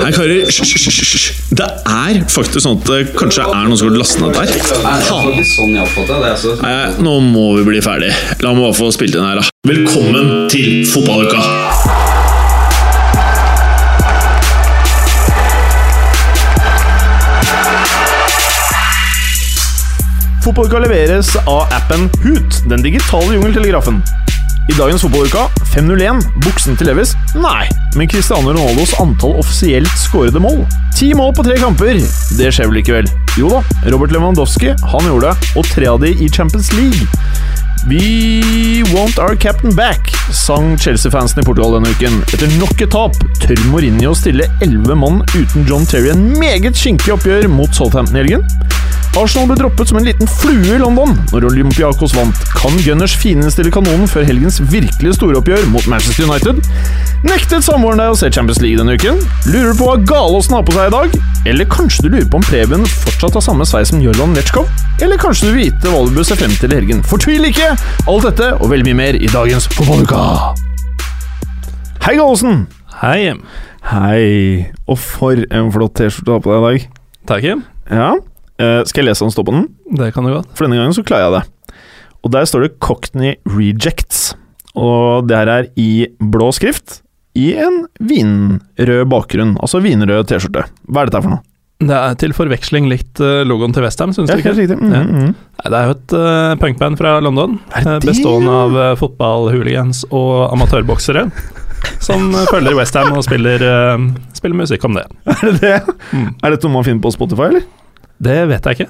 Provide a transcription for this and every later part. Nei, karer, hysj, hysj, hysj, hysj. Det er faktisk sånn at det kanskje er noen som har lastet ned der. Faen. sånn jeg oppfatta det. Altså. Nei, nå må vi bli ferdig. La meg bare få spilt inn her, da. Velkommen til fotballuka! Fotballuka leveres av appen Hoot, den digitale jungeltelegrafen. I dagens fotballuka 501, buksen til Levis? Nei, men Cristiano Ronaldos antall offisielt skårede mål. Ti mål på tre kamper! Det skjer vel ikke vel? Jo da, Robert Lewandowski han gjorde det, og tre av de i Champions League. We want our captain back, sang Chelsea-fansen i Portugal denne uken. Etter nok et tap tør Mourinho stille elleve mann uten John Terry en meget skinkig oppgjør mot Southampton i helgen. Arsenal ble droppet som en liten flue i London når Olympiakos vant. Kan Gunners fininnstille kanonen før helgens virkelig store oppgjør mot Manchester United? Nektet samboeren deg å se Champions League denne uken? Lurer du på hva Galåsen har på seg i dag? Eller kanskje du lurer på om Preben fortsatt har samme sveis som Jørland Letchkov? Eller kanskje du vil vite hva du bør se frem til i helgen? Fortvil ikke! Alt dette og veldig mye mer i dagens Fotballuka! Hei, Galåsen! Hei. Hei. Og for en flott T-skjorte du har på deg i dag. Takk, Kim. Ja, eh, skal jeg lese hva den står på den? Det kan du godt. For denne gangen så klarer jeg det. Og der står det Cockney Rejects. Og det her er i blå skrift i en vinrød bakgrunn. Altså vinrød T-skjorte. Hva er dette her for noe? Det er til forveksling likt eh, logoen til Westham, syns Ja, du ikke? helt riktig. Mm, Ja. mm, mm. Nei, Det er jo et eh, punkband fra London, Er det eh, det? bestående av eh, fotballhooligans og amatørboksere, som eh, følger Westham og spiller, eh, spiller musikk om det. Er det det? Mm. Er dette noe man finner på Spotify, eller? Det vet jeg ikke.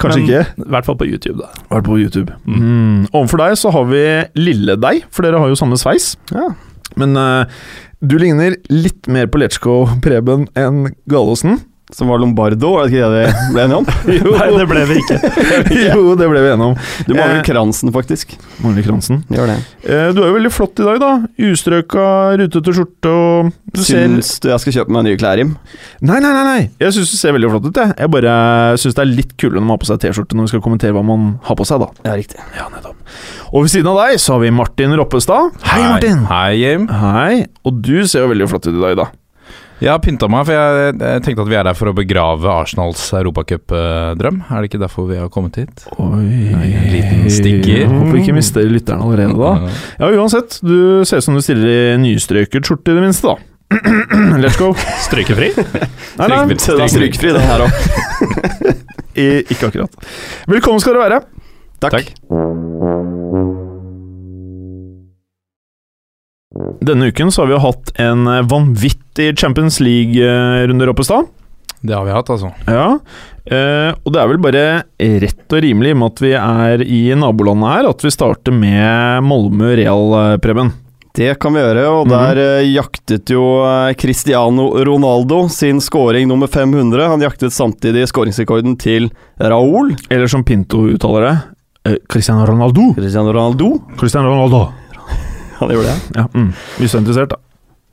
Kanskje men ikke. I hvert fall på YouTube, da. Vært på YouTube. Mm. Overfor deg så har vi lille deg, for dere har jo samme sveis. Men eh, du ligner litt mer på Letchko Preben enn Gallosen. Som var Lombardo, var det ikke det det ble enige om? Jo. Nei, det ble vi ikke. jo, det ble vi enige om. Du Eh. mangler kransen, faktisk. Marle Kransen. Gjør det. Eh, Du er jo veldig flott i dag, da. Ustrøka, rutete skjorte og du ser... Syns du jeg skal kjøpe meg nye klær, Jim? Nei, nei, nei, nei! Jeg syns du ser veldig flott ut. Jeg, jeg bare syns det er litt kulere når man har på seg T-skjorte når vi skal kommentere hva man har på seg, da. Ja, riktig. Ja, nettopp. Og ved siden av deg så har vi Martin Roppestad. Hei, Martin! Hei, Jim. Hei. Og du ser jo veldig flott ut i dag, da. Jeg har pynta meg, for jeg, jeg tenkte at vi er her for å begrave Arsenals europacupdrøm. Er det ikke derfor vi har kommet hit? Oi En liten stikker. Håper vi ikke mister lytteren allerede da. Eh, Ja, uansett. Du ser ut som du stiller i nystrøket skjorte, i det minste, da. Let's go. Strykefri. Nei, nei. Så det er strykefri, det her òg. I, ikke akkurat. Velkommen skal dere være. Takk. Takk. Denne uken så har vi jo hatt en eh, vanvittig Champions League-runde, Roppestad. Det har vi hatt, altså. Ja. Eh, og det er vel bare rett og rimelig, i og med at vi er i nabolandet her, at vi starter med Malmö Real, eh, Preben. Det kan vi gjøre, og der eh, jaktet jo eh, Cristiano Ronaldo sin scoring nummer 500. Han jaktet samtidig skåringsrekorden til Raúl. Eller som Pinto uttaler det, eh, Cristiano Ronaldo. Cristiano Ronaldo. Cristiano Ronaldo. Han gjorde det. Ja, mm. Hvis du er interessert, da.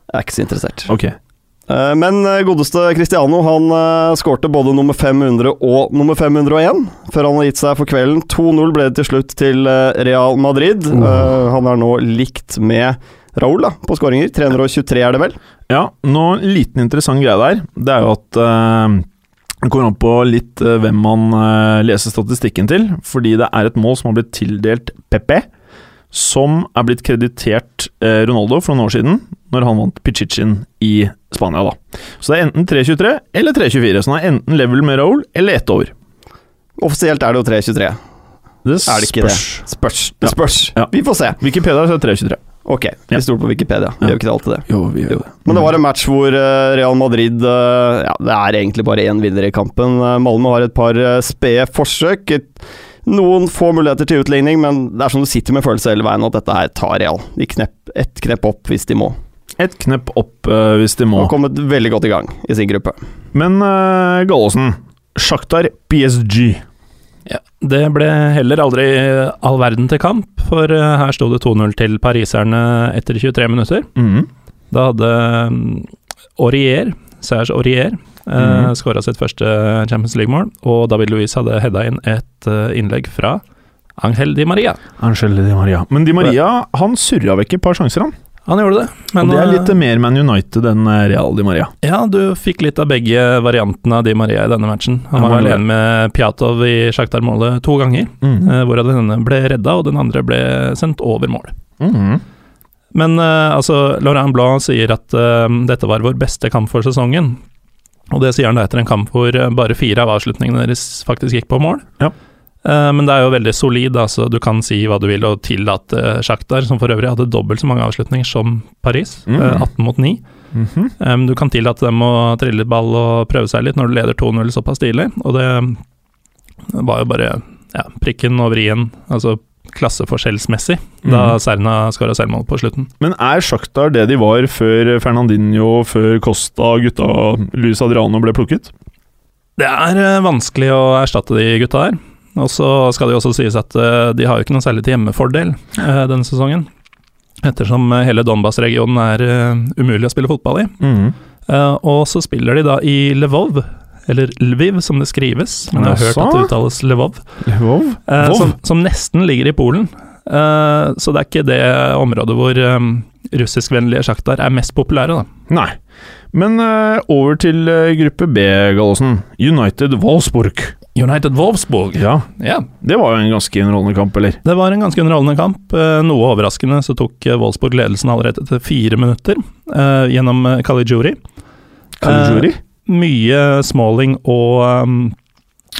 Jeg er ikke så interessert. Ok. Eh, Men eh, godeste Cristiano han eh, skårte både nummer 500 og nummer 501 før han har gitt seg for kvelden. 2-0 ble det til slutt til eh, Real Madrid. Eh, Han er nå likt med Raúl da, på skåringer. 323 er det vel? Ja, nå en liten interessant greie der. Det er jo at eh, det kommer an på litt eh, hvem man eh, leser statistikken til. Fordi det er et mål som har blitt tildelt Pepe, som er blitt kreditert eh, Ronaldo for noen år siden, når han vant Pichichin i Spania. da. Så det er enten 3-23 eller 3-24. Så han er enten level med Raúl eller ett år. Offisielt er det jo 323. Det Er det ikke det? Spørs. Det Ja. spørs. Ja. Vi får se. Wikipedia sier 3-23. Ok, Ja. vi stoler på Wikipedia. Vi Ja. gjør ikke alltid det. Jo, vi gjør det. Men det var en match hvor eh, Real Madrid eh, Ja, det er egentlig bare én vinner i kampen. Eh, Malmö har et par eh, spede forsøk. Et- Noen få muligheter til utligning, men det er som du sitter med følelse hele veien at dette her tar Real. De knepp, ett knepp opp hvis de må. Et knepp opp eh, hvis de Og må. har kommet veldig godt i gang i sin gruppe. Men uh, Gallosen, Sjaktar PSG. Ja, det ble heller aldri all verden til kamp, for eh, her sto det 2-0 til pariserne etter 23 minutter. Mhm. Da hadde mm, Aurier, Serge Aurier, eh, Mhm. skåra sitt første Champions League-mål, og David Louise hadde heada inn et eh, innlegg fra Angel Di Maria. Angel Di Maria. Men Di Maria han surra vekk et par sjanser, han. Han gjorde det. Og det er eh, litt mer Man United enn eh, Real Di Maria. Ja, du fikk litt av begge variantene av Di Maria i denne matchen. Han Ja, var han gjorde alene med Pjatov i Sjaktar-målet to ganger, Mm. eh, hvorav den ene ble redda, og den andre ble sendt over mål. Mhm. Men eh, altså, Laurent Blanc sier at eh, dette var vår beste kamp for sesongen. Og det sier han da etter en kamp hvor eh, bare fire av avslutningene deres faktisk gikk på mål. Ja. Eh, men det er jo veldig solid, da, så du kan si hva du vil og tillate eh, Shakhtar, som for øvrig hadde dobbelt så mange avslutninger som Paris, Mm. eh, 18 mot 9. Mhm. Eh, men du kan tillate dem å trille litt ball og prøve seg litt når du leder 2-0 såpass tidlig, og det var jo bare ja, prikken over i-en, altså klasseforskjellsmessig, Mm. da Serna skåra selvmål på slutten. Mhm. Men er Shakhtar det de var før Fernandinho, før Costa, gutta Luis Adriano ble plukket? Det er eh, vanskelig å erstatte de gutta der. Og så skal det jo også sies at eh, de har jo ikke noe særlig til hjemmefordel eh, denne sesongen. Ettersom eh, hele Donbas-regionen er eh, umulig å spille fotball i. Mm. Eh, Og så spiller de da i Lvov, eller Lviv som det skrives. Men jeg har hørt Jaså? at det uttales Lvov. Lvov? eh, Lvov? Som, som nesten ligger i Polen. Eh, Så det er ikke det området hvor eh, russiskvennlige sjaktar er mest populære, da. Nei. Men eh, over til eh, gruppe B, Gallosen. United Wolfsburg. United Wolfsburg. Ja, Ja. det var jo en ganske underholdende kamp, eller? Det var en ganske underholdende kamp. Eh, Noe overraskende så tok eh, Wolfsburg ledelsen allerede etter fire minutter eh, gjennom eh, Caligiuri. Caligiuri? Mye Smalling og um,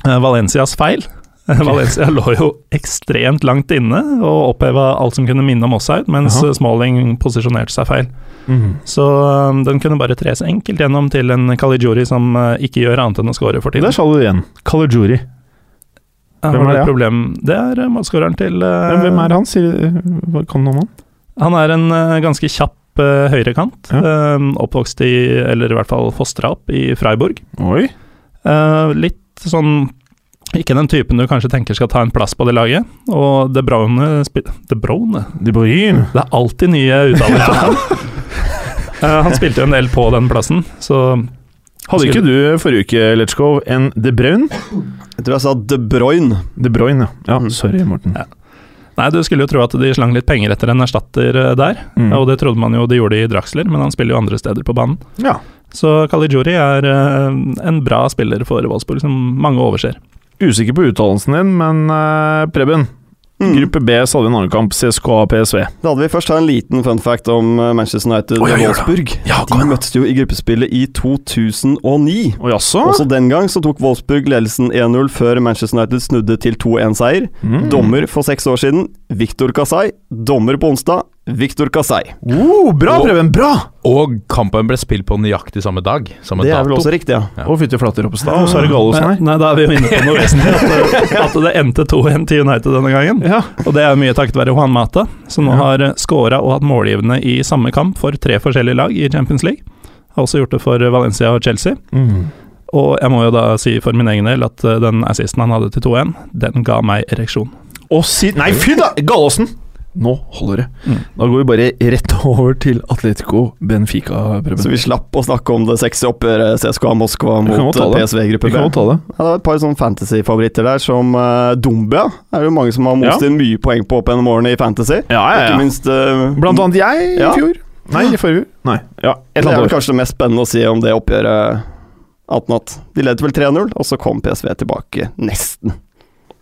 eh, Valencias feil. Eh, Valencia lå jo ekstremt langt inne og oppheva alt som kunne minne om offside, mens Jaha. eh, Smalling posisjonerte seg feil. Mhm. Så um, den kunne bare tres enkelt gjennom til en Caligiuri som eh, ikke gjør annet enn å score for tiden. Der sa du det igjen. Caligiuri. Eh, Ja, hvem er var det det, et problem? Det er eh, målskåreren til eh, Men Hvem er han? Sier, hva kan du noe om han? Han er en eh, ganske kjapp eh, høyrekant. eh, oppvokst i, eller i hvert fall fostra opp, i Freiburg. Oi. Eh, litt sånn ikke den typen du kanskje tenker skal ta en plass på det laget. Og De Bruyne spi- De Bruyne? De Bruyne. Det er alltid nye uttaler på ham. Eh, han spilte jo en del på den plassen, så Hadde ikke du eh, forrige uke, Letchkov, en De Bruyne? Jeg tror jeg sa De Bruyne. De Bruyne, ja. ja Mhm. sorry, Morten. Ja. Nei, du skulle jo tro at de slang litt penger etter en erstatter eh, der, Mhm. og det trodde man jo de gjorde i Draxler, men han spiller jo andre steder på banen. Ja. Så Caligiuri er eh, en bra spiller for Wolfsburg, som mange overser. Usikker på uttalelsen din, men eh, Preben. Mm. Gruppe B så hadde vi en annen kamp, CSKA PSV. Da hadde vi først her en liten fun fact om eh, Manchester United Oi, og oi, oi, da. Wolfsburg. Ja, De møttes jo i gruppespillet i 2009. Å jaså? Også den gang så tok Wolfsburg ledelsen 1-0 før Manchester United snudde til 2-1-seier. Mm. Dommer for seks år siden, Victor Kasai. Dommer på onsdag, Victor Kasai. Oh, bra, Og- Preben! Bra! Og kampen ble spilt på nøyaktig samme dag. Samme Det er dato. vel også riktig, ja. Ja. Å, fytti flater, Roppestad. Og så er det Gallosen Nei, her. nei, da er vi jo inne på noe vesentlig. At, det- at det endte 2-1 til United denne gangen. Ja. Og det er jo mye takket være Juan Mata, som nå Ja. har scora og hatt målgivende i samme kamp for tre forskjellige lag i Champions League. Har også gjort det for Valencia og Chelsea. Og jeg må jo da si for min egen del at eh, den assisten han hadde til 2-1, den ga meg ereksjon. Og si Nei, fy da! Gallosen! Nå holder det. Mm. Da går vi bare rett over til Atletico Benfica, Preben. Så vi slapp å snakke om det sexy oppgjøret CSKA Moskva Vi kan godt mot eh, ta det. PSV-gruppe vi B. kan godt ta det. Ja, det var et par sånne fantasy-favoritter der, som uh, Dombia. Det er jo mange som har most inn mye poeng på opp gjennom årene i fantasy. Ja, Ikke minst eh, Blant annet jeg i Ja. fjor. Nei, i forrige fjor. Nei. Ja, et Det eller er annet vel år. kanskje det mest spennende å si om det oppgjøret. 18 at De ledet vel 3-0, og så kom PSV tilbake nesten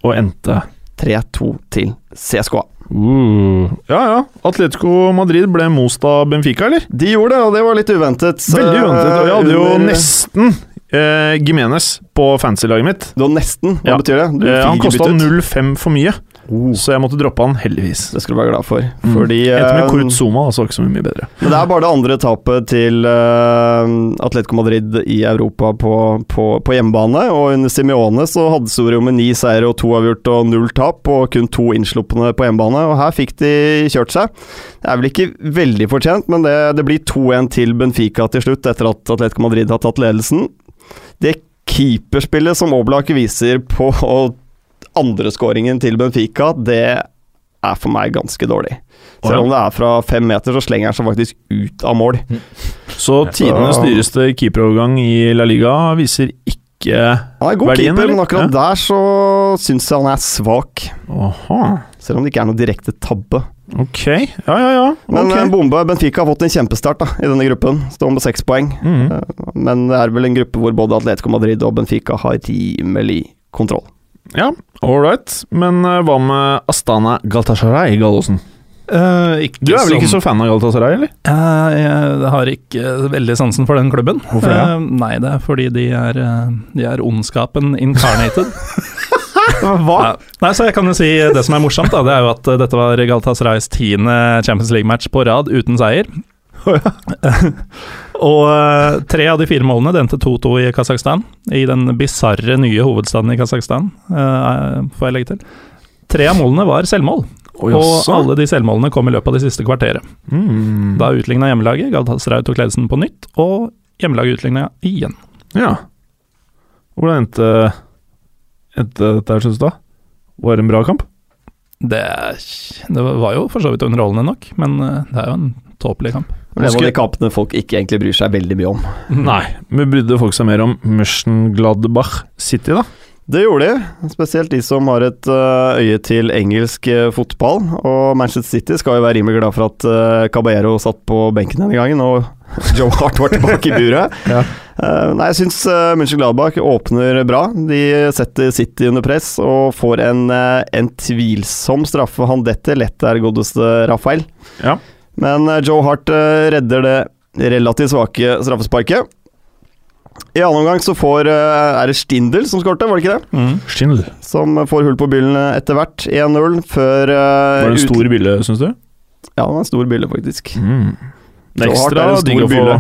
Og endte 3-2 til CSKA. uh. Ja ja. Atletico Madrid ble most av Benfica, eller? De gjorde det, og det var litt uventet. så- Veldig uventet. Og jeg hadde jo under- nesten eh, Gimenez på fancy-laget mitt. Det var nesten, hva Ja. betyr det? Du Eh, han fikk ikke kosta bytte ut. 0,5 for mye, Oh. så jeg måtte droppe han, heldigvis. Det skal du være glad for. Fordi Etter Mm. med eh, Kurut Zuma, altså ikke så mye bedre. Men det er bare det andre tapet til eh, Atletico Madrid i Europa på, på, på hjemmebane. Og under Simione så hadde Sorio med ni seire og to avgjort og null tap, og kun to innslupne på hjemmebane. Og her fikk de kjørt seg. Det er vel ikke veldig fortjent, men det, det blir 2-1 til Benfica til slutt, etter at Atletico Madrid har tatt ledelsen. Det keeperspillet som Oblak viser på andreskåringen til Benfica, det er for meg ganske dårlig. Selv om det er fra fem meter, så slenger han seg faktisk ut av mål. Så tidenes dyreste keeperovergang i La Liga viser ikke ikke Han er god Verdien, keeper, eller? men akkurat Ja. der så syns jeg han er svak. Aha. Selv om det ikke er noe direkte tabbe. Ok. Ja, ja, ja. Men Ok. eh, Bombe Benfica har fått en kjempestart da, i denne gruppen. Står med seks poeng. Mhm. Men det er vel en gruppe hvor både Atletico Madrid og Benfica har rimelig kontroll. Ja, all right. Men eh, hva med Astana Galatasaray, Gallosen? Du er vel Eh, ikke så fan av Galatasaray, eller? Eh, Jeg har ikke eh, veldig sansen for den klubben. Hvorfor det? Eh, Nei, det er fordi de er, eh, de er ondskapen incarnated. Hva? Ja. Nei, så jeg kan jo si eh, Det som er morsomt, da, det er jo at eh, dette var Galatasarays tiende Champions League-match på rad uten seier. og eh, tre av de fire målene det endte 2-2 i Kasakhstan, i den bisarre nye hovedstaden i Kasakhstan, eh, får jeg legge til. Tre av målene var selvmål, og jaså. alle de selvmålene kom i løpet av det siste kvarteret. Mm. Da utligna hjemmelaget, Galatasaray tok ledelsen på nytt, og hjemmelaget utligna igjen. Ja. Hvordan endte, endte dette her, synes du? da? Var det en bra kamp? Det, er- det var jo for så vidt underholdende nok, men eh, det er jo en tåpelig kamp. Det er en av Skulle- de kampene folk ikke egentlig bryr seg veldig mye om. Nei. Men brydde folk seg mer om Mönchengladbach City, da? Det gjorde de, spesielt de som har et eh, øye til engelsk eh, fotball. Og Manchester City skal jo være rimelig glad for at eh, Caballero satt på benken denne gangen, og Joe Hart var tilbake i buret. Ja. Eh, nei, jeg syns uh, München-Gladbach åpner bra. De setter City under press og får en, eh, en tvilsom straffe. Han detter lett der, godeste Rafael. Ja. Men eh, Joe Hart eh, redder det relativt svake straffesparket. I annen omgang så får, eh, er det Stindel som skårte, var det ikke det? Mm. Schindl. Som får hull på byllen etter hvert. 1-0 før eh, Var det en ut- stor bille, syns du? Ja, det var en stor bylle, faktisk. Mm. Det er Så hardt er ekstra det en stor digg å få bille.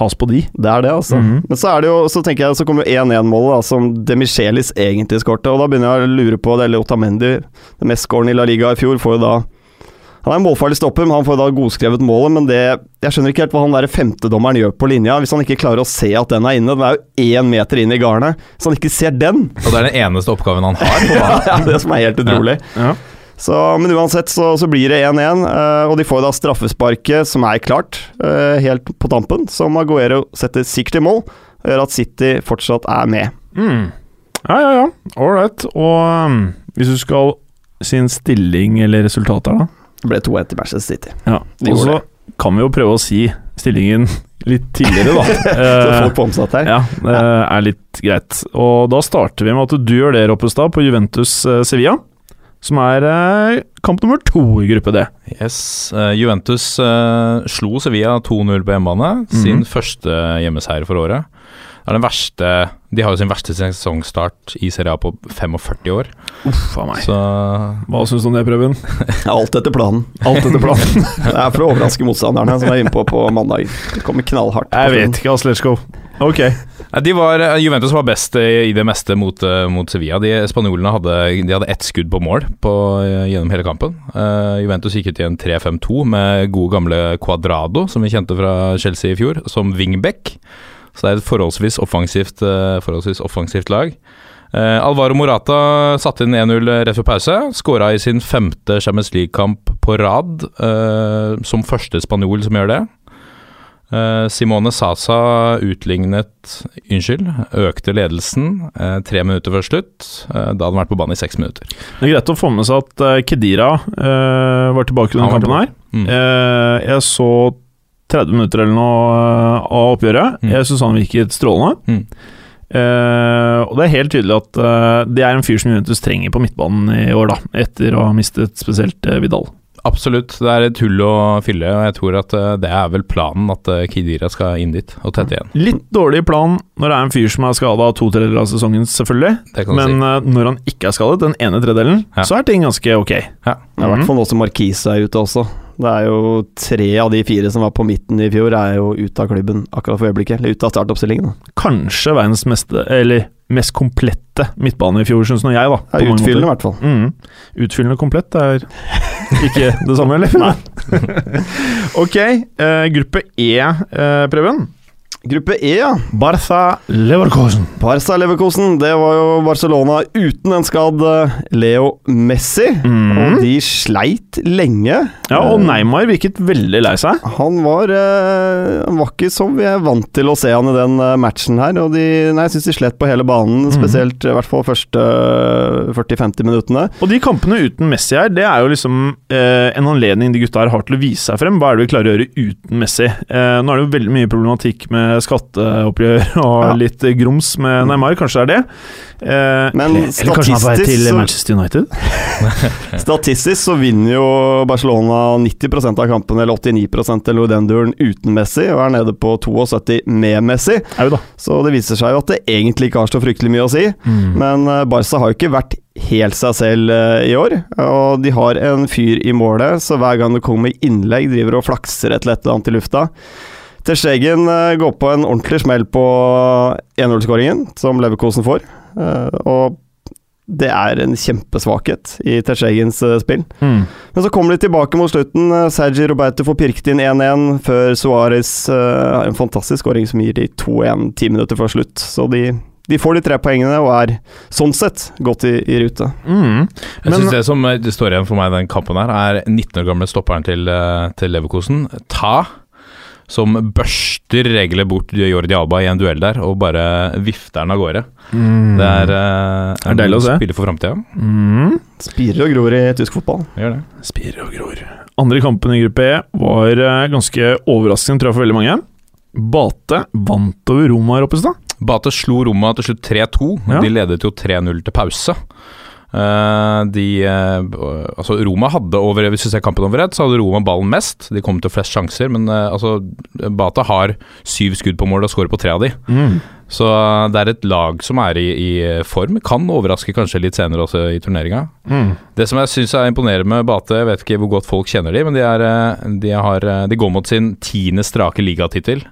has på de. Det er det, altså. Mhm. Men så, er det jo, så tenker jeg, så kommer jo 1-1-målet, da, som Demichelis egentlig skårte. Og da begynner jeg å lure på det, eller Otamendi, den mest skårende i La Liga i fjor, får jo da Han er en målfarlig stopper, men han får da godskrevet målet. Men det, jeg skjønner ikke helt hva han der femtedommeren gjør på linja, hvis han ikke klarer å se at den er inne. Den er jo én meter inn i garnet. Hvis han ikke ser den Og det er den eneste oppgaven han har. på banen. Ja, det er det som er helt utrolig. Ja. Så, men uansett så, så blir det 1-1, eh, og de får da straffesparket som er klart, eh, helt på tampen, som Aguero setter sikkert i mål, og gjør at City fortsatt er med. Mm. Ja, ja, ja. Ålreit. Og um, hvis du skal si en stilling eller resultat her, da Det ble 2-1 til Manchester City. ja. Vi Og gjorde så kan vi jo prøve å si stillingen litt tidligere, da. Så Eh, folk får med seg dette her. ja, det er litt greit. Og da starter vi med at du gjør det, Roppestad, på Juventus eh, Sevilla. Som er eh, kamp nummer to i gruppe D. Yes, eh, Juventus eh, slo Sevilla 2-0 på hjemmebane. Mhm. Sin første hjemmeseier for året. Det er den verste De har jo sin verste sesongstart i Serie A på 45 år. Uff a Så Hva syns du om det, Preben? Alt etter planen. Alt etter planen. Det er for å overraske motstanderne som er innpå på mandag. Det kommer knallhardt. på Jeg den. vet ikke, ass. Let's go. Ok. Nei, de var, eh, Juventus var best i i det meste mot, eh, mot Sevilla. De Spanjolene hadde, de hadde ett skudd på mål på, eh, gjennom hele kampen. Eh, Juventus gikk ut i en 3-5-2 med gode gamle Cuadrado, som vi kjente fra Chelsea i fjor, som wingback. Så det er et forholdsvis offensivt, eh, forholdsvis offensivt lag. Eh, Alvaro Morata satte inn 1-0 rett før pause. Skåra i sin femte Champions League-kamp på rad, eh, som første spanjol som gjør det. Eh, Simone Sasa utlignet Unnskyld, økte ledelsen eh, tre minutter før slutt. Eh, da hadde han vært på banen i seks minutter. Det er greit å få med seg at eh, Kedira eh, var tilbake i denne Han var kampen her. Mm. Eh, jeg så 30 minutter eller noe eh, av oppgjøret. Mm. Jeg syns han virket strålende. Mm. Eh, og det er helt tydelig at eh, det er en fyr som Juventus trenger på midtbanen i år, da. Etter å ha mistet spesielt eh, Vidal. Absolutt, det er et hull å fylle, og jeg tror at eh, det er vel planen at eh, Khedira skal inn dit og tette igjen. Litt dårlig plan når det er en fyr som er skada to tredjedeler av sesongen, selvfølgelig. Det kan du Men eh, når han ikke er skadet, den ene tredelen, Ja. så er ting ganske ok. Det er i Mhm. hvert fall nå som Marquise er ute også. Det er jo tre av de fire som var på midten i fjor, er jo ute av klubben akkurat for øyeblikket. Eller ute av startoppstillingen. da. Kanskje verdens meste, eller mest komplette midtbane i fjor, syns nå jeg, da. Det er på mange måter. utfyllende, i hvert fall. Mm. Utfyllende komplett er ikke det samme, eller? Nei. ok, eh, gruppe E, eh, Preben. Gruppe E, ja. Barca Leverkosen. Barca Leverkosen. Det var jo Barcelona uten en skadd eh, Leo Messi. Mhm. Og de sleit lenge. Mm. Ja, og Neymar virket veldig lei seg. Han var, eh, han var ikke som vi er vant til å se han i den eh, matchen her. Og de, nei, jeg syns de slet på hele banen, spesielt eh, i hvert fall første eh, 40-50 minuttene. Og de kampene uten Messi her, det er jo liksom eh, en anledning de gutta her har til å vise seg frem. Hva er det vi klarer å gjøre uten Messi? Eh, nå er det jo veldig mye problematikk med skatteoppgjør og Ja. litt eh, grums Mm. med Neymar, kanskje det er det. Eh, Men statistisk, så, Manchester United? statistisk så vinner jo Barcelona 90 av kampene, eller 89 eller i den duren, uten Messi, og er nede på 72 med Messi. Au da. Så det viser seg jo at det egentlig ikke har så fryktelig mye å si. mm. Mm. Men eh, Barca har jo ikke vært helt seg selv eh, i år. Og de har en fyr i målet, så hver gang det kommer innlegg, driver og flakser et eller annet i lufta. Ter Stegen eh, går på en ordentlig smell på 1-0-skåringen, som Leverkosen får. Eh, Og det er en kjempesvakhet i Ter Stegens eh, spill. Mm. Men så kommer de tilbake mot slutten. Eh, Sergi Roberto får pirket inn 1-1 før Suárez har en fantastisk skåring som gir de 2-1 ti minutter før slutt. Så de, de får de tre poengene og er sånn sett godt i, i rute. Mm. Jeg Men- synes Det som eh, det står igjen for meg i den kampen, her er 19 år gamle stopperen til, eh, til Leverkosen, Ta, som børster regler bort Jordi Alba i en duell der, og bare vifter den av gårde. Mm. Det er, eh, Det er deilig å se. spiller for framtida. Mm. Spirer og gror i tysk fotball. Gjør det. Spirer og gror. Andre kampen i gruppe E var eh, ganske overraskende, tror jeg, for veldig mange. Bate vant over Roma, Roppestad. Bate slo Roma til slutt 3-2. Ja. De ledet jo 3-0 til pause. Eh, de, eh, altså Roma hadde over Hvis du ser kampen over ett, så hadde Roma ballen mest. De kom til flest sjanser, men eh, altså, Bata har syv skudd på mål og scorer på tre av de. Så eh, det er et lag som er i, i eh, form. Kan overraske kanskje litt senere også i turneringa. Mm. Det som jeg syns er imponerende med Bate, jeg vet ikke hvor godt folk kjenner de, men de, er, eh, de, har, eh, de går mot sin tiende strake ligatittel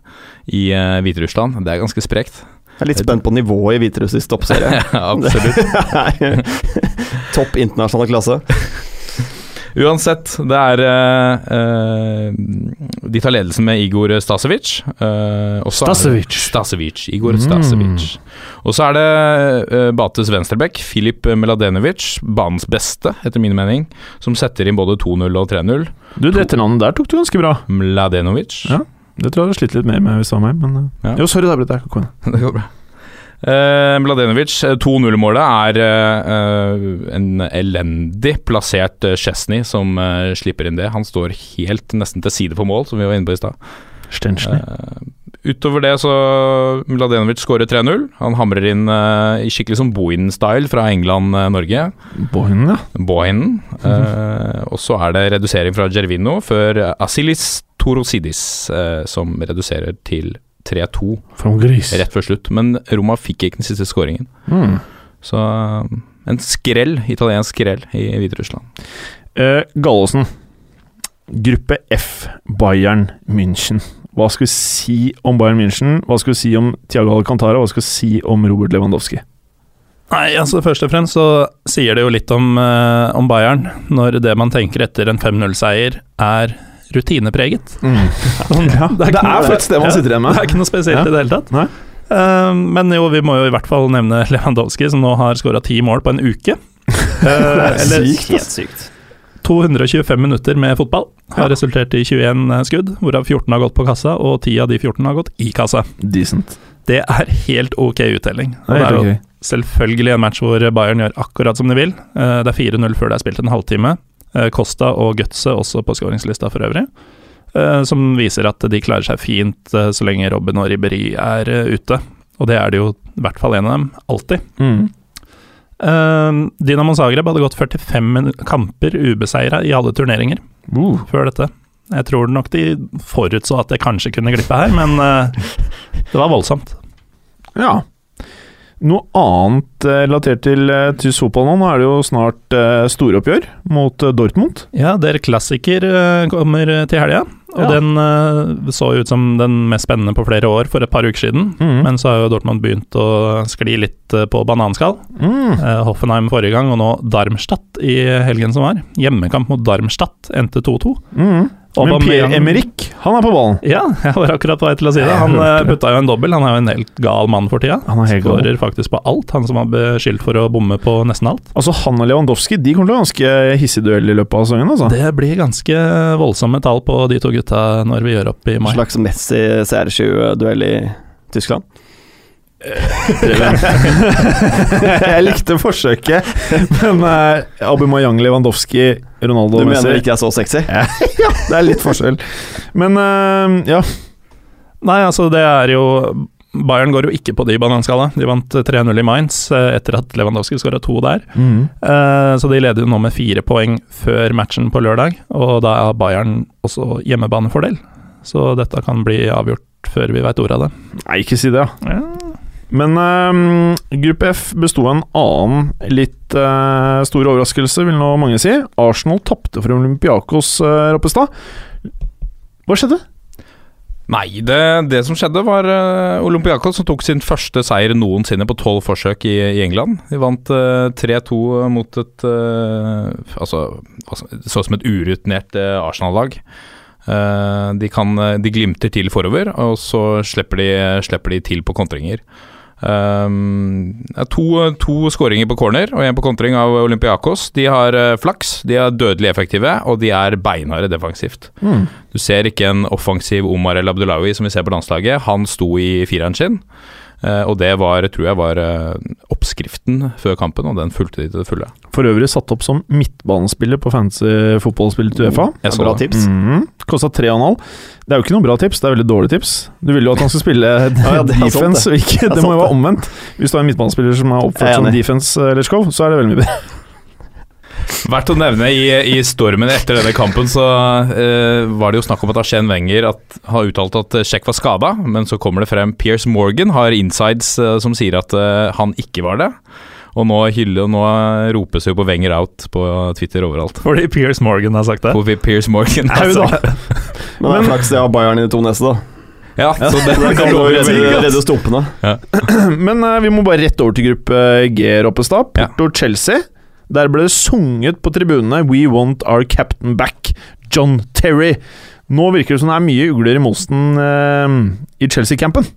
i eh, Hviterussland. Det er ganske sprekt. Jeg er litt spent på nivået i Hviterussisk toppserie. Absolutt. Topp internasjonal klasse. Uansett, det er eh, eh, De tar ledelsen med Igor Stasevic. eh, og så er det- Stasevic. Mm. Stasevic. Igor Stasevic. Og så er det eh, Bates venstreback, Filip Meladenovic, banens beste, etter min mening, som setter inn både 2-0 og 3-0. Du, det etternavnet der tok du ganske bra. Mladenovic. Ja. Det tror jeg du hadde slitt litt mer med hvis det var meg, men eh, Ja. Jo, sorry, det avbrøt jeg. Kom igjen. Det går bra. Eh, Mladenovic, eh, 2-0-målet er eh, eh, en elendig plassert eh, Chesney som eh, slipper inn det. Han står helt nesten til side på mål, som vi var inne på i stad. Stenschny. Utover det så Mladenovic skårer 3-0. Han hamrer inn eh, i skikkelig sånn Bohinen-style fra England-Norge. Bohinen, Eh, ja. Bohinen. Eh, og så er det redusering fra Gervino før Asilis Torosidis eh, som reduserer til 3-2 From Gris. rett før slutt. Men Roma fikk ikke den siste skåringen. Mm. Så eh, en skrell, italiensk skrell i Hviterussland. Eh, Gallosen. Gruppe F, Bayern München. Hva skal vi si om Bayern München? Hva skal vi si om Tiago Alcantara? Hva skal vi si om Robert Lewandowski? Nei, altså først og fremst så sier det jo litt om, eh, om Bayern, når det man tenker etter en 5-0-seier er rutinepreget. Sånn, Mm. Det ikke noe- er faktisk det man sitter igjen Ja, det er med. ikke noe spesielt Ja. i det hele tatt. Nei. Eh, men jo, vi må jo i hvert fall nevne Lewandowski, som nå har skåra ti mål på en uke. Eh, eller Helt sykt. 225 minutter med fotball har resultert i 21 skudd, hvorav 14 har gått på kassa, og 10 av de 14 har gått i kassa. Decent. Det er helt ok uttelling. Og Det er helt jo ok. selvfølgelig en match hvor Bayern gjør akkurat som de vil. Eh, Det er 4-0 før det er spilt en halvtime. Eh, Costa og Gutse også på skåringslista for øvrig. eh, Som viser at de klarer seg fint eh, så lenge Robben og Ribberi er eh, ute. Og det er det jo i hvert fall en av dem, alltid. Mm. Eh, Dinamo Zagreb hadde gått 45 min- kamper ubeseira i alle turneringer Uh. før dette. Jeg tror nok de forutså at det kanskje kunne glippe her, men eh, det var voldsomt. Ja. Noe annet eh, relatert til eh, tysk fotball nå. Nå er det jo snart eh, storoppgjør mot eh, Dortmund. Ja, Der klassiker eh, kommer eh, til helga. Og Ja. den eh, så jo ut som den mest spennende på flere år for et par uker siden. Mm. Men så har jo Dortmund begynt å skli litt eh, på bananskall. Mm. Eh, Hoffenheim forrige gang, og nå Darmstadt i helgen som var. Hjemmekamp mot Darmstadt endte 2-2. Mm. Men Aubameyang- Pierre-Emerick, han er på ballen. Ja, jeg var akkurat på vei til å si det. Han eh, putta jo en dobbel. Han er jo en helt gal mann for tida. Han er helt gal. Skårer faktisk på alt, han som var beskyldt for å bomme på nesten alt. Altså, han og Lewandowski de kommer til å ha ganske hissig duell i løpet av sesongen. Altså. Det blir ganske voldsomme tall på de to gutta når vi gjør opp i mai. Slags Messi CR7-duell i Tyskland. jeg likte forsøket, men uh, Abumayang, Lewandowski, Ronaldo Du og mener Messi ikke jeg er så sexy? Det er litt forskjell. Men eh, ja, Nei, altså det er jo Bayern går jo ikke på de bananskala. De vant eh, 3-0 i Mainz eh, etter at Lewandowski skåra to der. Mm. Eh, Så de leder jo nå med fire poeng før matchen på lørdag, og da har Bayern også hjemmebanefordel. Så dette kan bli avgjort før vi veit ordet av det. Nei, ikke si det, ja. Ja. Men eh, gruppe F besto av en annen litt eh, stor overraskelse, vil nå mange si. Arsenal tapte for Olympiakos, eh, Roppestad. Hva skjedde? Nei, det, det som skjedde var eh, Olympiakos som tok sin første seier noensinne på tolv forsøk i, i England. De vant eh, 3-2 mot et eh, Altså, altså, det så ut som et urutinert eh, Arsenal-lag. Eh, de, kan, eh, de glimter til forover, og så slipper de, slipper de til på kontringer. Ehm, det er to, to skåringer på corner og én på kontring av Olympiakos. De har eh, flaks, de er dødelig effektive, og de er beinharde defensivt. Mm. Du ser ikke en offensiv Omar El Abdullawi som vi ser på landslaget. Han sto i fireren sin, eh, og det var, tror jeg var eh, oppskriften før kampen, og den fulgte de til det fulle. For øvrig satt opp som midtbanespiller på fancy fotballspillet til Uefa. Jeg så Bra det. tips. Mm. Kosta 3,5. Det er jo ikke noe bra tips, det er veldig dårlig tips. Du vil jo at han skal spille ja, det er sant, defense, og ikke er Det må sant, jo være det. omvendt. Hvis du er en midtbanespiller som er Jeg oppført er som enig. defense eh, eller show, så er det veldig mye bedre. Verdt å nevne, i, i stormen etter denne kampen så eh, var det jo snakk om at Arsène Wenger at, har uttalt at Sjekk var skada, men så kommer det frem Piers Morgan har insides eh, som sier at eh, han ikke var det. Og nå hyller og nå ropes jo på Wenger out på Twitter overalt. Fordi Piers Morgan har sagt det. På Piers Morgan. Au altså. da. Men det Men- er flaks jeg har Bayern i de to neste, da. Ja, så det, Det kan det jo lover veldig redde, godt. redde stumpene. Men eh, vi må bare rett over til gruppe G, Roppestad. Ja. Porto-Chelsea. Der ble det sunget på tribunene 'We want our captain back', John Terry. Nå virker det som det er mye ugler i mosen eh, i Chelsea-campen.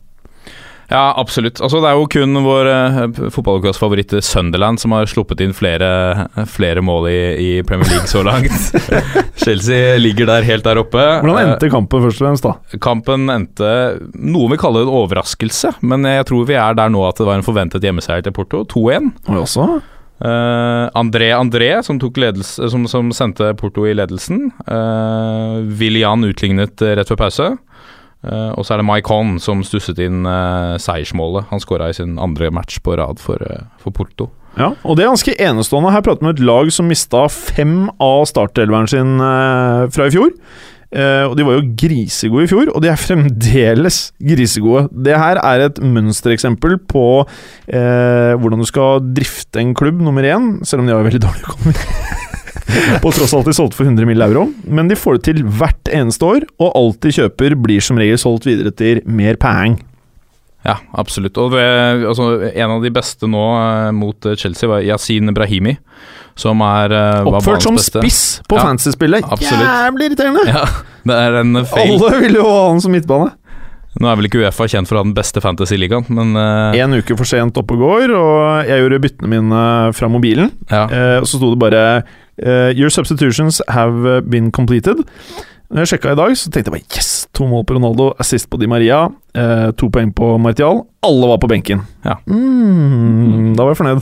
Ja, absolutt. Altså, det er jo kun vår uh, fotballkvassfavoritt Sunderland som har sluppet inn flere, eh, flere mål i, i Premier League så langt. Chelsea ligger der helt der oppe. Hvordan endte kampen, først og fremst? da? Eh, kampen endte Noen vil kalle det en overraskelse, men jeg tror vi er der nå at det var en forventet hjemmeseier til Porto. 2-1. Og også Eh, André André, som, tok ledelse, som, som sendte Porto i ledelsen. Uh, William utlignet eh, rett før pause. Eh, og så er det Maikon som stusset inn eh, seiersmålet. Han skåra i sin andre match på rad for, eh, for Porto. Ja, og det er ganske enestående. Her prater vi om et lag som mista fem av startelveren sin eh, fra i fjor. Eh, og De var jo grisegode i fjor, og de er fremdeles grisegode. Det her er et mønstereksempel på eh, hvordan du skal drifte en klubb, nummer én, selv om de har veldig dårlig økonomi. På tross av at de solgte for 100 mill. euro. Men de får det til hvert eneste år, og alt de kjøper blir som regel solgt videre til mer peng. Ja, absolutt. Og det, altså, en av de beste nå eh, mot eh, Chelsea var Yasin Brahimi, som er eh, var Oppført banens som beste. spiss på Ja, fantasy-spillet. absolutt. Jævlig irriterende! Ja, det er en feil. Alle ville jo ha han som midtbane. Nå er vel ikke Uefa kjent for å ha den beste fantasy-ligaen, men eh, En uke for sent oppe og går, og jeg gjorde byttene mine fra mobilen. ja. Eh, og så sto det bare eh, 'Your substitutions have been completed'. Når jeg sjekka i dag, så tenkte jeg bare yes! To mål på Ronaldo, assist på Di Maria, eh, to poeng på Martial. Alle var på benken. Ja. Mm, da var jeg fornøyd.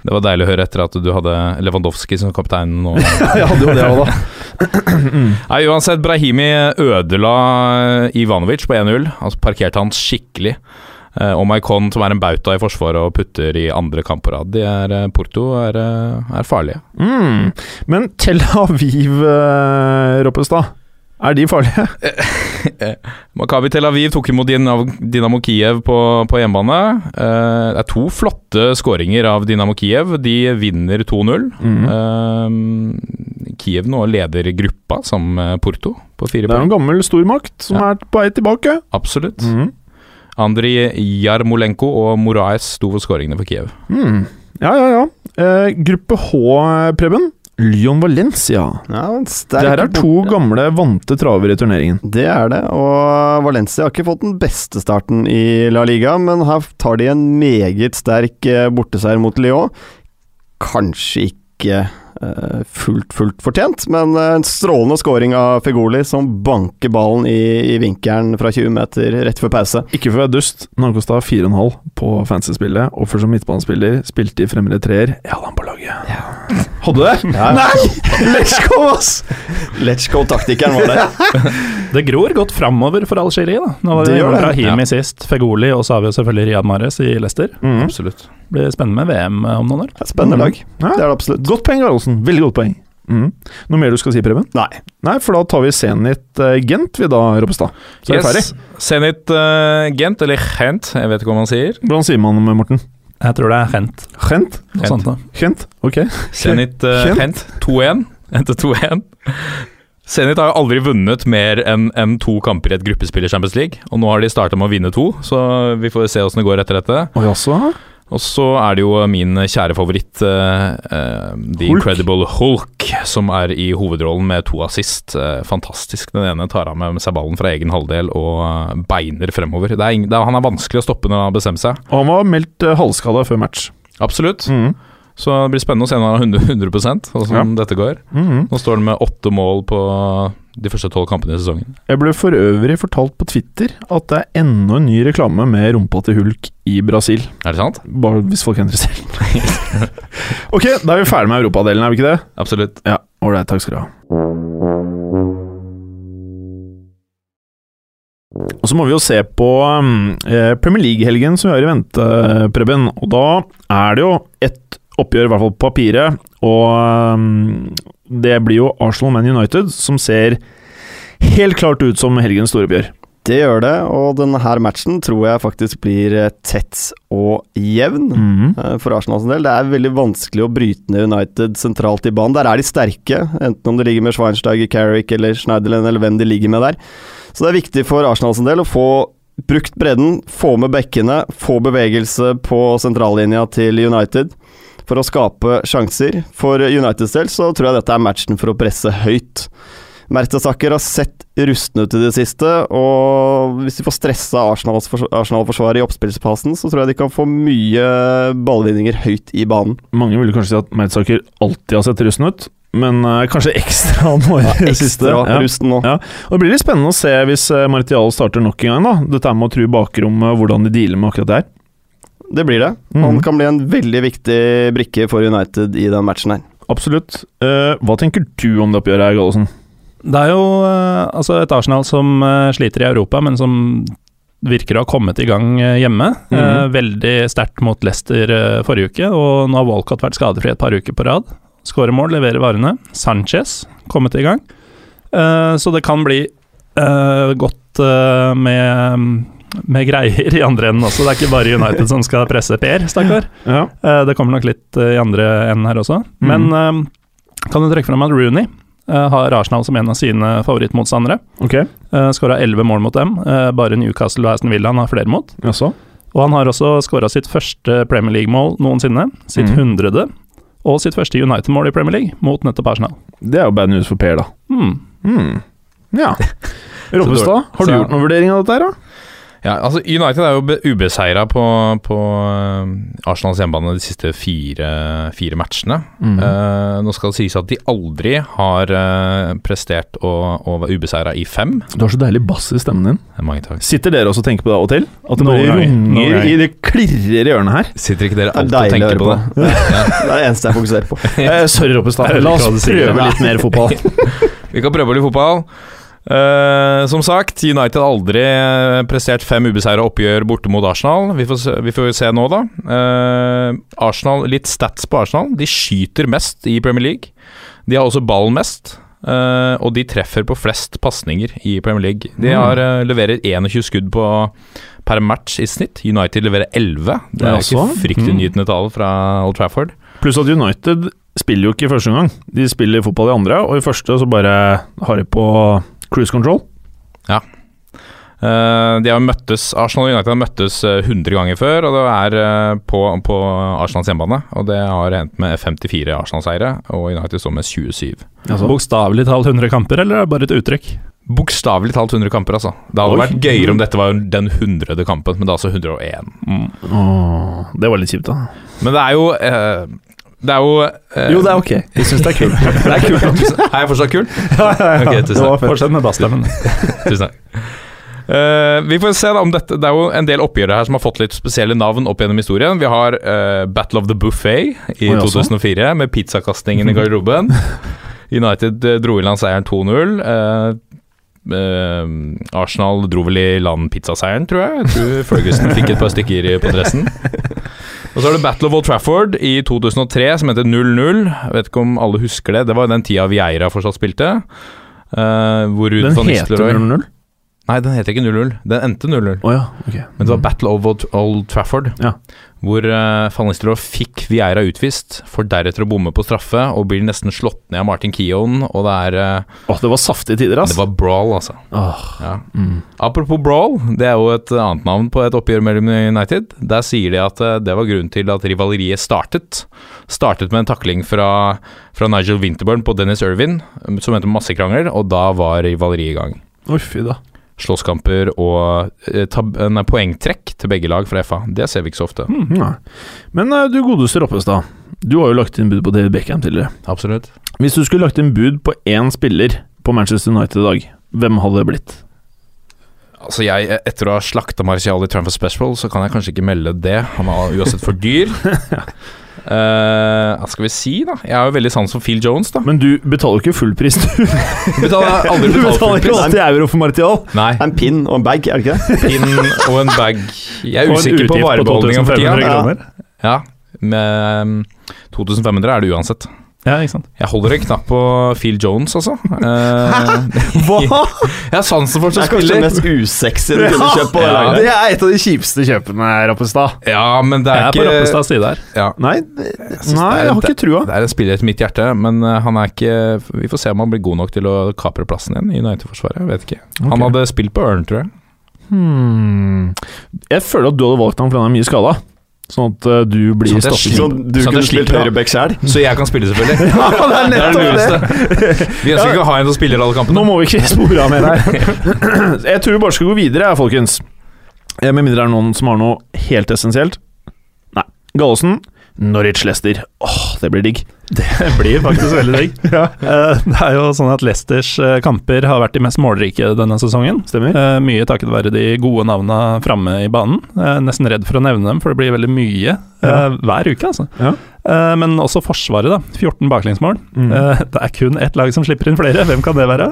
Det var deilig å høre etter at du hadde Lewandowski som kaptein nå. jeg hadde jo det òg, da. Nei, uansett, Brahimi ødela Ivanovic på 1-0. Altså parkerte han skikkelig. Eh, Og Maikon, som er en bauta i forsvaret og putter i andre kamp på rad. De er eh, Porto er, eh, er farlige. Mm. Men Tel Aviv, eh, Roppestad, er de farlige? Makabi Tel Aviv tok imot Dinav- Dinamo Kiev på, på hjemmebane. Eh, Det er to flotte skåringer av Dinamo Kiev. De vinner 2-0. Mm. Eh, Kiev nå leder gruppa sammen med Porto på fire Det er jo poeng. en gammel stormakt som Ja. er på vei tilbake. Mm. Absolutt. Andrij Jarmolenko og Hmm. Moraes sto for skåringene for Kiev. Mm. Ja, ja, ja. Eh, gruppe H, Preben. Lyon Valencia. Ja, en Det sterk her er to gamle vante traver i turneringen. Det er det, og Valencia har ikke fått den beste starten i La Liga, men her tar de en meget sterk eh, borteseier mot Lyon. Kanskje ikke eh, fullt, fullt fortjent, men eh, en strålende scoring av Figoli som banker ballen i, i vinkelen fra 20 meter rett før pause. Ikke for å være dust, men han kosta 4,5 på fancy-spillet. Og for som midtbanespiller spilte i fremre treer. Jeg hadde han på laget. Hadde det? Nei! Let's go, ass! Let's go-taktikeren var der. Det gror godt framover for Algerie, da. Nå var Det det gjør det. Rahimi sist, Fegoli, og så har vi jo selvfølgelig Riyad Mahrez i Leicester. Mhm. Absolutt. Blir spennende med VM om noen år. Spennende lag. Ja. Det er det absolutt. Godt poeng, Garolsen. Veldig godt poeng. Mhm. Noe mer du skal si, Preben? Nei. Nei, for da tar vi Zenit eh, Gent, vi da, Ropstad. Så er vi ferdig. Zenit eh, Gent, eller Gent, jeg vet ikke hva man sier. Hvordan sier man eh, Morten? Jeg tror det er Hent. Gent? noe Gent. sånt da. Gent? Ok. Zenit eh, Gent 2-1. Endte 2-1. Zenit har jo aldri vunnet mer enn enn to kamper i et gruppespill i Champions League. Og nå har de starta med å vinne to, så vi får se åssen det går etter dette. Og jaså? Og så er det jo min kjære favoritt, eh, eh, The Hulk. Incredible Hulk, som er i hovedrollen med to assist. Eh, fantastisk. Den ene tar av med seg ballen fra egen halvdel og eh, beiner fremover. Det er ing det er, han er vanskelig å stoppe når han har bestemt seg. Og han var meldt eh, halvskada før match. Absolutt. Mhm. Så det blir spennende å se når han er 100, 100 og sånn dette går. Mhm. Nå står han med åtte mål på de første tolv kampene i sesongen. Jeg ble for øvrig fortalt på Twitter at det er enda en ny reklame med rumpa til Hulk i Brasil. Er det sant? Bare hvis folk er interessert. ok, da er vi ferdig med europadelen, er vi ikke det? Absolutt. Ja, ålreit. Takk skal du ha. Og så må vi jo se på um, eh, Premier League-helgen som vi har i vente, eh, Preben. Og da er det jo ett oppgjør, i hvert fall på papiret, og um, det blir jo Arsenal-Man United som ser helt klart ut som helgens store oppgjør. Det gjør det, og denne her matchen tror jeg faktisk blir eh, tett og jevn. Mm. Mhm. Eh, For Arsenal sin del, det er veldig vanskelig å bryte ned United sentralt i banen. Der er de sterke, enten om de ligger med Schweinsteiger, Carrick eller Schneiderlin, eller hvem de ligger med der. Så det er viktig for Arsenal sin del å få brukt bredden, få med bekkene, få bevegelse på sentrallinja til United for å skape sjanser. For Uniteds del så tror jeg dette er matchen for å presse høyt. Mertesaker har sett rustne ut i det siste, og hvis de får stressa Arsenals fors- Arsenal-forsvaret i oppspillsfasen, så tror jeg de kan få mye ballvinninger høyt i banen. Mange ville kanskje si at Mertzaker alltid har sett rusten ut, men eh, kanskje ekstra nå i det siste. Ekstra Ja. rusten nå. Ja. Og Det blir litt spennende å se hvis eh, Martial starter nok en gang. da Dette her med å true bakrommet, og hvordan de dealer med akkurat det her. Det blir det. Han Mhm. kan bli en veldig viktig brikke for United i den matchen her. Absolutt. Eh, hva tenker du om det oppgjøret her, Gallosen? Det er jo eh, altså et Arsenal som eh, sliter i Europa, men som virker å ha kommet i gang eh, hjemme. Eh, Mhm. Veldig sterkt mot Leicester eh, forrige uke, og nå har Walcott vært skadefri et par uker på rad. Skårer mål, leverer varene. Sanchez kommet i gang. Eh, Så det kan bli eh, godt eh, med, med greier i andre enden også. Det er ikke bare United som skal presse Per, stakkar. Ja. Eh, Det kommer nok litt eh, i andre enden her også. Men Mhm. eh, kan du trekke fram at Rooney eh, har Arsenal som en av sine favorittmotstandere. Ok, Uh, Skåra elleve mål mot dem, eh, bare Newcastle og Aston Villa han har flere mot. jaså? Og han har også skåra sitt første Premier League-mål noensinne, sitt Mhm. hundrede, og sitt første United-mål i Premier League, mot nettopp Arsenal. Det er jo bad news for Per, da. Hmm. Hmm. Ja. Roppestad, har du Så- gjort noen vurdering av dette her, da? Ja, altså United er jo be- ubeseira på, på eh, Arsenals hjemmebane de siste fire, fire matchene. Mm. Mm. Eh, nå skal det sies at de aldri har eh, prestert å, å være ubeseira i fem. Du har så deilig bass i stemmen din. Mange takk. Sitter dere også og tenker på det av og til? At det Noen bare ganger. Noen runger ganger. i det klirrer i hjørnet her? Sitter ikke dere Det er alltid og deilig å tenker høre på det? på. Det er det eneste jeg fokuserer på. Eh, sorry, Roppestad. La hva du oss sier. prøve litt mer fotball. Vi kan prøve å bli fotball. Eh, som sagt, United har aldri eh, prestert fem ubeseira oppgjør borte mot Arsenal. Vi får se, vi får se nå, da. Eh, Arsenal, Litt stats på Arsenal. De skyter mest i Premier League. De har også ballen mest. eh, og de treffer på flest pasninger i Premier League. Mm. De har, eh, leverer 21 skudd på, per match i snitt. United leverer 11. Det er Ja, ikke så. Mm. fryktelig nytende tall fra Old Trafford. Pluss at United spiller jo ikke i første omgang. De spiller fotball i andre, og i første så bare har de på cruise control. Eh, de har møttes, Arsenal og United har møttes eh, 100 ganger før, og det er eh, på, på Arsenals hjemmebane. Og det har endt med 54 Arsenal-seire, og United står med 27. Eh, Bokstavelig talt 100 kamper, eller er det bare et uttrykk? Bokstavelig talt 100 kamper, altså. Det hadde vært gøyere om dette var den 100. kampen, men det er altså 101. Åh, det var litt kjipt, da. Men det er jo eh, Det er jo eh, det er ok. Vi syns det er kult. det er kult. Er jeg fortsatt kul? Ok, tusen takk. Fortsett med bassstemmen. Tusen takk. Eh, vi får se da om dette Det er jo en del oppgjør her som har fått litt spesielle navn opp gjennom historien. Vi har eh, Battle of the Buffet i Oi, altså. 2004, med pizzakastingen i garderoben. United eh, dro i land seieren 2-0. Eh, eh, Arsenal dro vel i land pizzaseieren, tror jeg. Jeg tror Ferguson fikk et par stykker i- på dressen. Og så har du Battle of Old Trafford i 2003, som heter 0-0. Jeg Vet ikke om alle husker det. Det var jo den tida Vieira fortsatt spilte. eh, hvor Ruud Den van heter Nistelrooy- 0-0. Nei, den heter ikke 0-0. Den endte 0-0. Å ja, ok. Men det var Battle of Old- Old Trafford, Mm. Ja. hvor uh, Van Nistelrooy fikk Vieira utvist, for deretter å bomme på straffe, og blir nesten slått ned av Martin Keown, og det er eh, Åh, det var saftige tider, ass. Det var brawl, altså. Åh, Ja. mm. Apropos brawl, det er jo et eh, annet navn på et oppgjør mellom United. Der sier de at eh, det var grunnen til at rivaleriet startet. Startet med en takling fra, fra Nigel Winterburn på Dennis Irvin, som endte med massekrangel, og da var rivaleriet i gang. Oi, fy da. slåsskamper og eh, tab nei, poengtrekk til begge lag fra FA. Det ser vi ikke så ofte. Mm, nei. Men eh, du godeste Roppestad, du har jo lagt inn bud på David Beckham tidligere. Absolutt. Hvis du skulle lagt inn bud på én spiller på Manchester United i dag, hvem hadde det blitt? Altså jeg, eh, Etter å ha slakta Martial i Transfer Special, så kan jeg kanskje ikke melde det. Han er uansett for dyr. Eh, hva skal vi si, da? Jeg har jo veldig sans for Phil Jones, da. Men du betaler jo ikke full pris, du. Betaler Du aldri betalt betaler full ikke pris. 80 euro for Martial. Nei, En pin og en bag, er det ikke det? pin og en bag. Jeg er Og en usikker utgift på på varebeholdninga for 2500 tida. kroner. Ja, med mm, 2500 er det uansett. Ja, ikke sant. Jeg holder en knapp på Phil Jones, altså. Eh, Hva?! jeg har sansen for Det som er kanskje det spiller. mest usexy du kunne kjøpt på det Ja. laget. Det er et av de kjipeste kjøpene, Roppestad. Ja, men det Jeg er er på ikke Rappestads side her. ja, Nei, nei, synes det er- jeg har ikke trua. Det er en spiller etter mitt hjerte, men eh, han er ikke Vi får se om han blir god nok til å kapre plassen igjen i United-forsvaret. Jeg vet ikke. Han hadde spilt på Ørn, tror jeg. Hmm. Jeg føler at du hadde valgt ham fordi han er mye skada. Sånn at eh, du blir Sånn at jeg stoppet. Sånn du Så det kunne spilt slipper, ja. høyreback sjæl. Så jeg kan spille, selvfølgelig. Ja, det er Det er det nettopp det! lureste. Vi ønsker ikke å ha en som spiller alle Nå kampene. må vi ikke spore av mer her. Jeg tror vi bare skal gå videre, jeg, folkens. Eh, Med mindre det er noen som har noe helt essensielt. Nei. Gallosen. Norwich Lester. Åh, det blir digg. Det blir faktisk veldig digg. Eh, Det er jo sånn at Leicesters eh, kamper har vært de mest målrike denne sesongen. Stemmer? Eh, Mye takket være de gode navna framme i banen. Eh, Nesten redd for å nevne dem, for det blir veldig mye eh, Ja. hver uke, altså. Ja. Eh, Men også Forsvaret, da. 14 baklengsmål. Mm. Eh, Det er kun ett lag som slipper inn flere, hvem kan det være?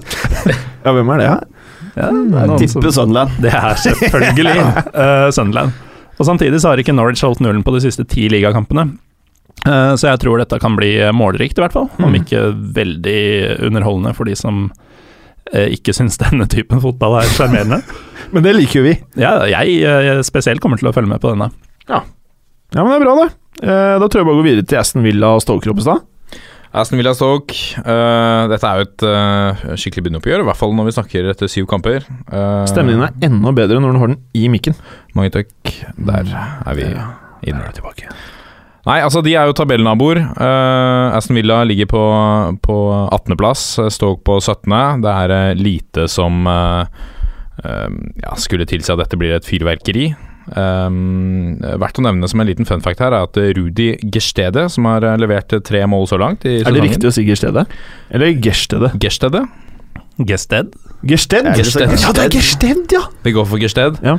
Ja, hvem er det? Ja, Hmm. noen som- Tipper Sunderland. det er selvfølgelig eh, Sunderland. Og Samtidig så har ikke Norwich holdt nullen på de siste ti ligakampene. Eh, Så jeg tror dette kan bli eh, målrikt, i hvert fall. Hmm. Om Mm. ikke veldig underholdende for de som eh, ikke syns denne typen fotball er sjarmerende. Men det liker jo vi. Ja, jeg eh, spesielt kommer til å følge med på denne. Ja, men det er bra, det. Eh, Da tror jeg bare går videre til Aston Villa og Stoke Roppestad. Aston Villa Stoke. eh, dette er jo et eh, skikkelig begynneroppgjør, i hvert fall når vi snakker etter syv kamper. Eh, Stemmen din er enda bedre når du har den i mikken. Mange takk. Der Mm. er vi inne. tilbake. Nei, altså de er jo tabellnaboer. Eh, Aston Villa ligger på, på 18.-plass, Stoke på 17. Det er eh, lite som eh, eh, ja, skulle tilsi at dette blir et fyrverkeri. Um, verdt å nevne som en liten fun fact her er at Rudi Gestede, som har eh, levert tre mål så langt i Er det riktig å si Gerstede? Eller Gerstede? Gestede? Gested. Gersted? Er det Gersted. så- Ja, det er Gersted, ja! Vi går for Gersted. Ja.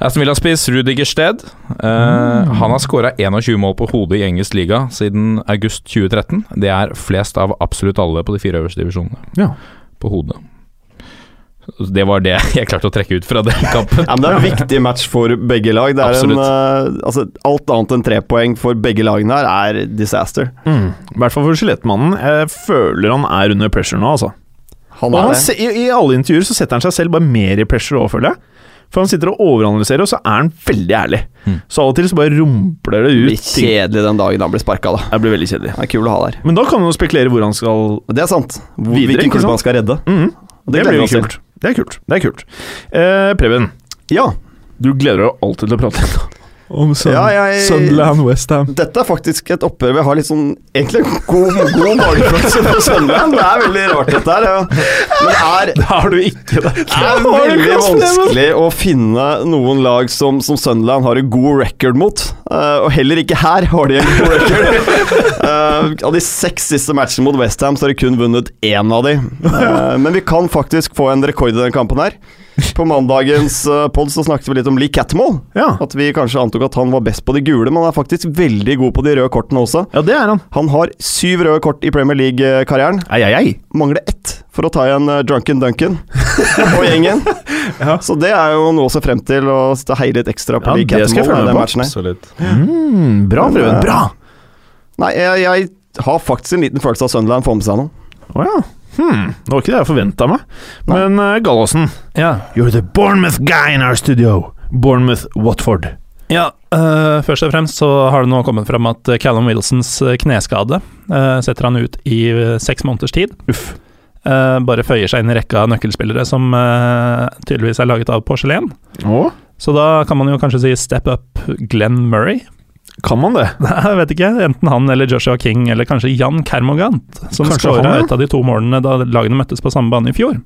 Aston Villa-spiss Rudi Gersted. Eh, Mm. Han har skåra 21 mål på hodet i engelsk liga siden august 2013. Det er flest av absolutt alle på de fire øverste divisjonene. Ja. På hodet. Så Det var det jeg klarte å trekke ut fra den kampen. Ja, men det er en viktig match for begge lag. Det er en, eh, altså, alt annet enn tre poeng for begge lagene her er disaster. Mm. I hvert fall for skjelettmannen. Jeg føler han er under pressure nå, altså. Han Og er han det. se, i, I alle intervjuer så setter han seg selv bare mer i pressure òg, føler jeg. For han sitter og overanalyserer, og så er han veldig ærlig. Mm. Så av og til så bare rumpler det ut. Blir kjedelig den dagen han blir sparka, da. ting. Det blir veldig kjedelig. Det er kul å ha der. Men da kan man jo spekulere hvor han skal Det er sant. Hvor, Videre, hvilken ikke klubb han sant? skal redde. Mhm. Og Det gleder blir vi jo oss til. kult. Det er kult. det er kult. Eh, Preben, Ja, du gleder deg alltid til å prate litt om Sun Ja, jeg- Sunderland Westham. dette er faktisk et oppgjør hvor jeg har litt sånn Egentlig en god, god magefølelse på Sunderland. Det er veldig rart, dette her. ja. Men det er, Har du ikke det? er veldig vanskelig å finne noen lag som, som Sunderland har en god record mot. Eh, og heller ikke her har de en god record. Eh, av de seks siste matchene mot Westham har de kun vunnet én av de. Eh, men vi kan faktisk få en rekord i den kampen her. På mandagens uh, pod så snakket vi litt om Lee Catmull. Ja. At vi kanskje antok at han var best på de gule, men han er faktisk veldig god på de røde kortene også. ja, det er han. Han har syv røde kort i Premier League-karrieren. Ei, ei, ei. Mangler ett for å ta igjen eh, Drunken Duncan og gjengen. Ja. Så det er jo noe å se frem til, og s- heie litt ekstra på Ja, de det skal jeg Catmull i følge med eh, den på. matchen her. Absolutt. Mm, bra, Preben. Bra! Nei, jeg, jeg har faktisk en liten følelse av Sunderland får med seg noe. Å ja. Hmm, det var ikke det jeg forventa meg. Men uh, Gallosen, Ja. you're the Bournemouth guy in our studio. Bournemouth-Watford. Ja, eh, først og fremst så har det nå kommet fram at eh, Callum Wilsons eh, kneskade eh, setter han ut i eh, seks måneders tid. Uff. Eh, bare føyer seg inn i rekka av nøkkelspillere som eh, tydeligvis er laget av porselen. Å, Så da kan man jo kanskje si step up Glenn Murray. kan man det? Nei, jeg vet ikke. Enten han eller Joshua King eller kanskje Jan Kermogant, som Kanskje skåra han, ja. ut av de to målene da lagene møttes på samme bane i fjor.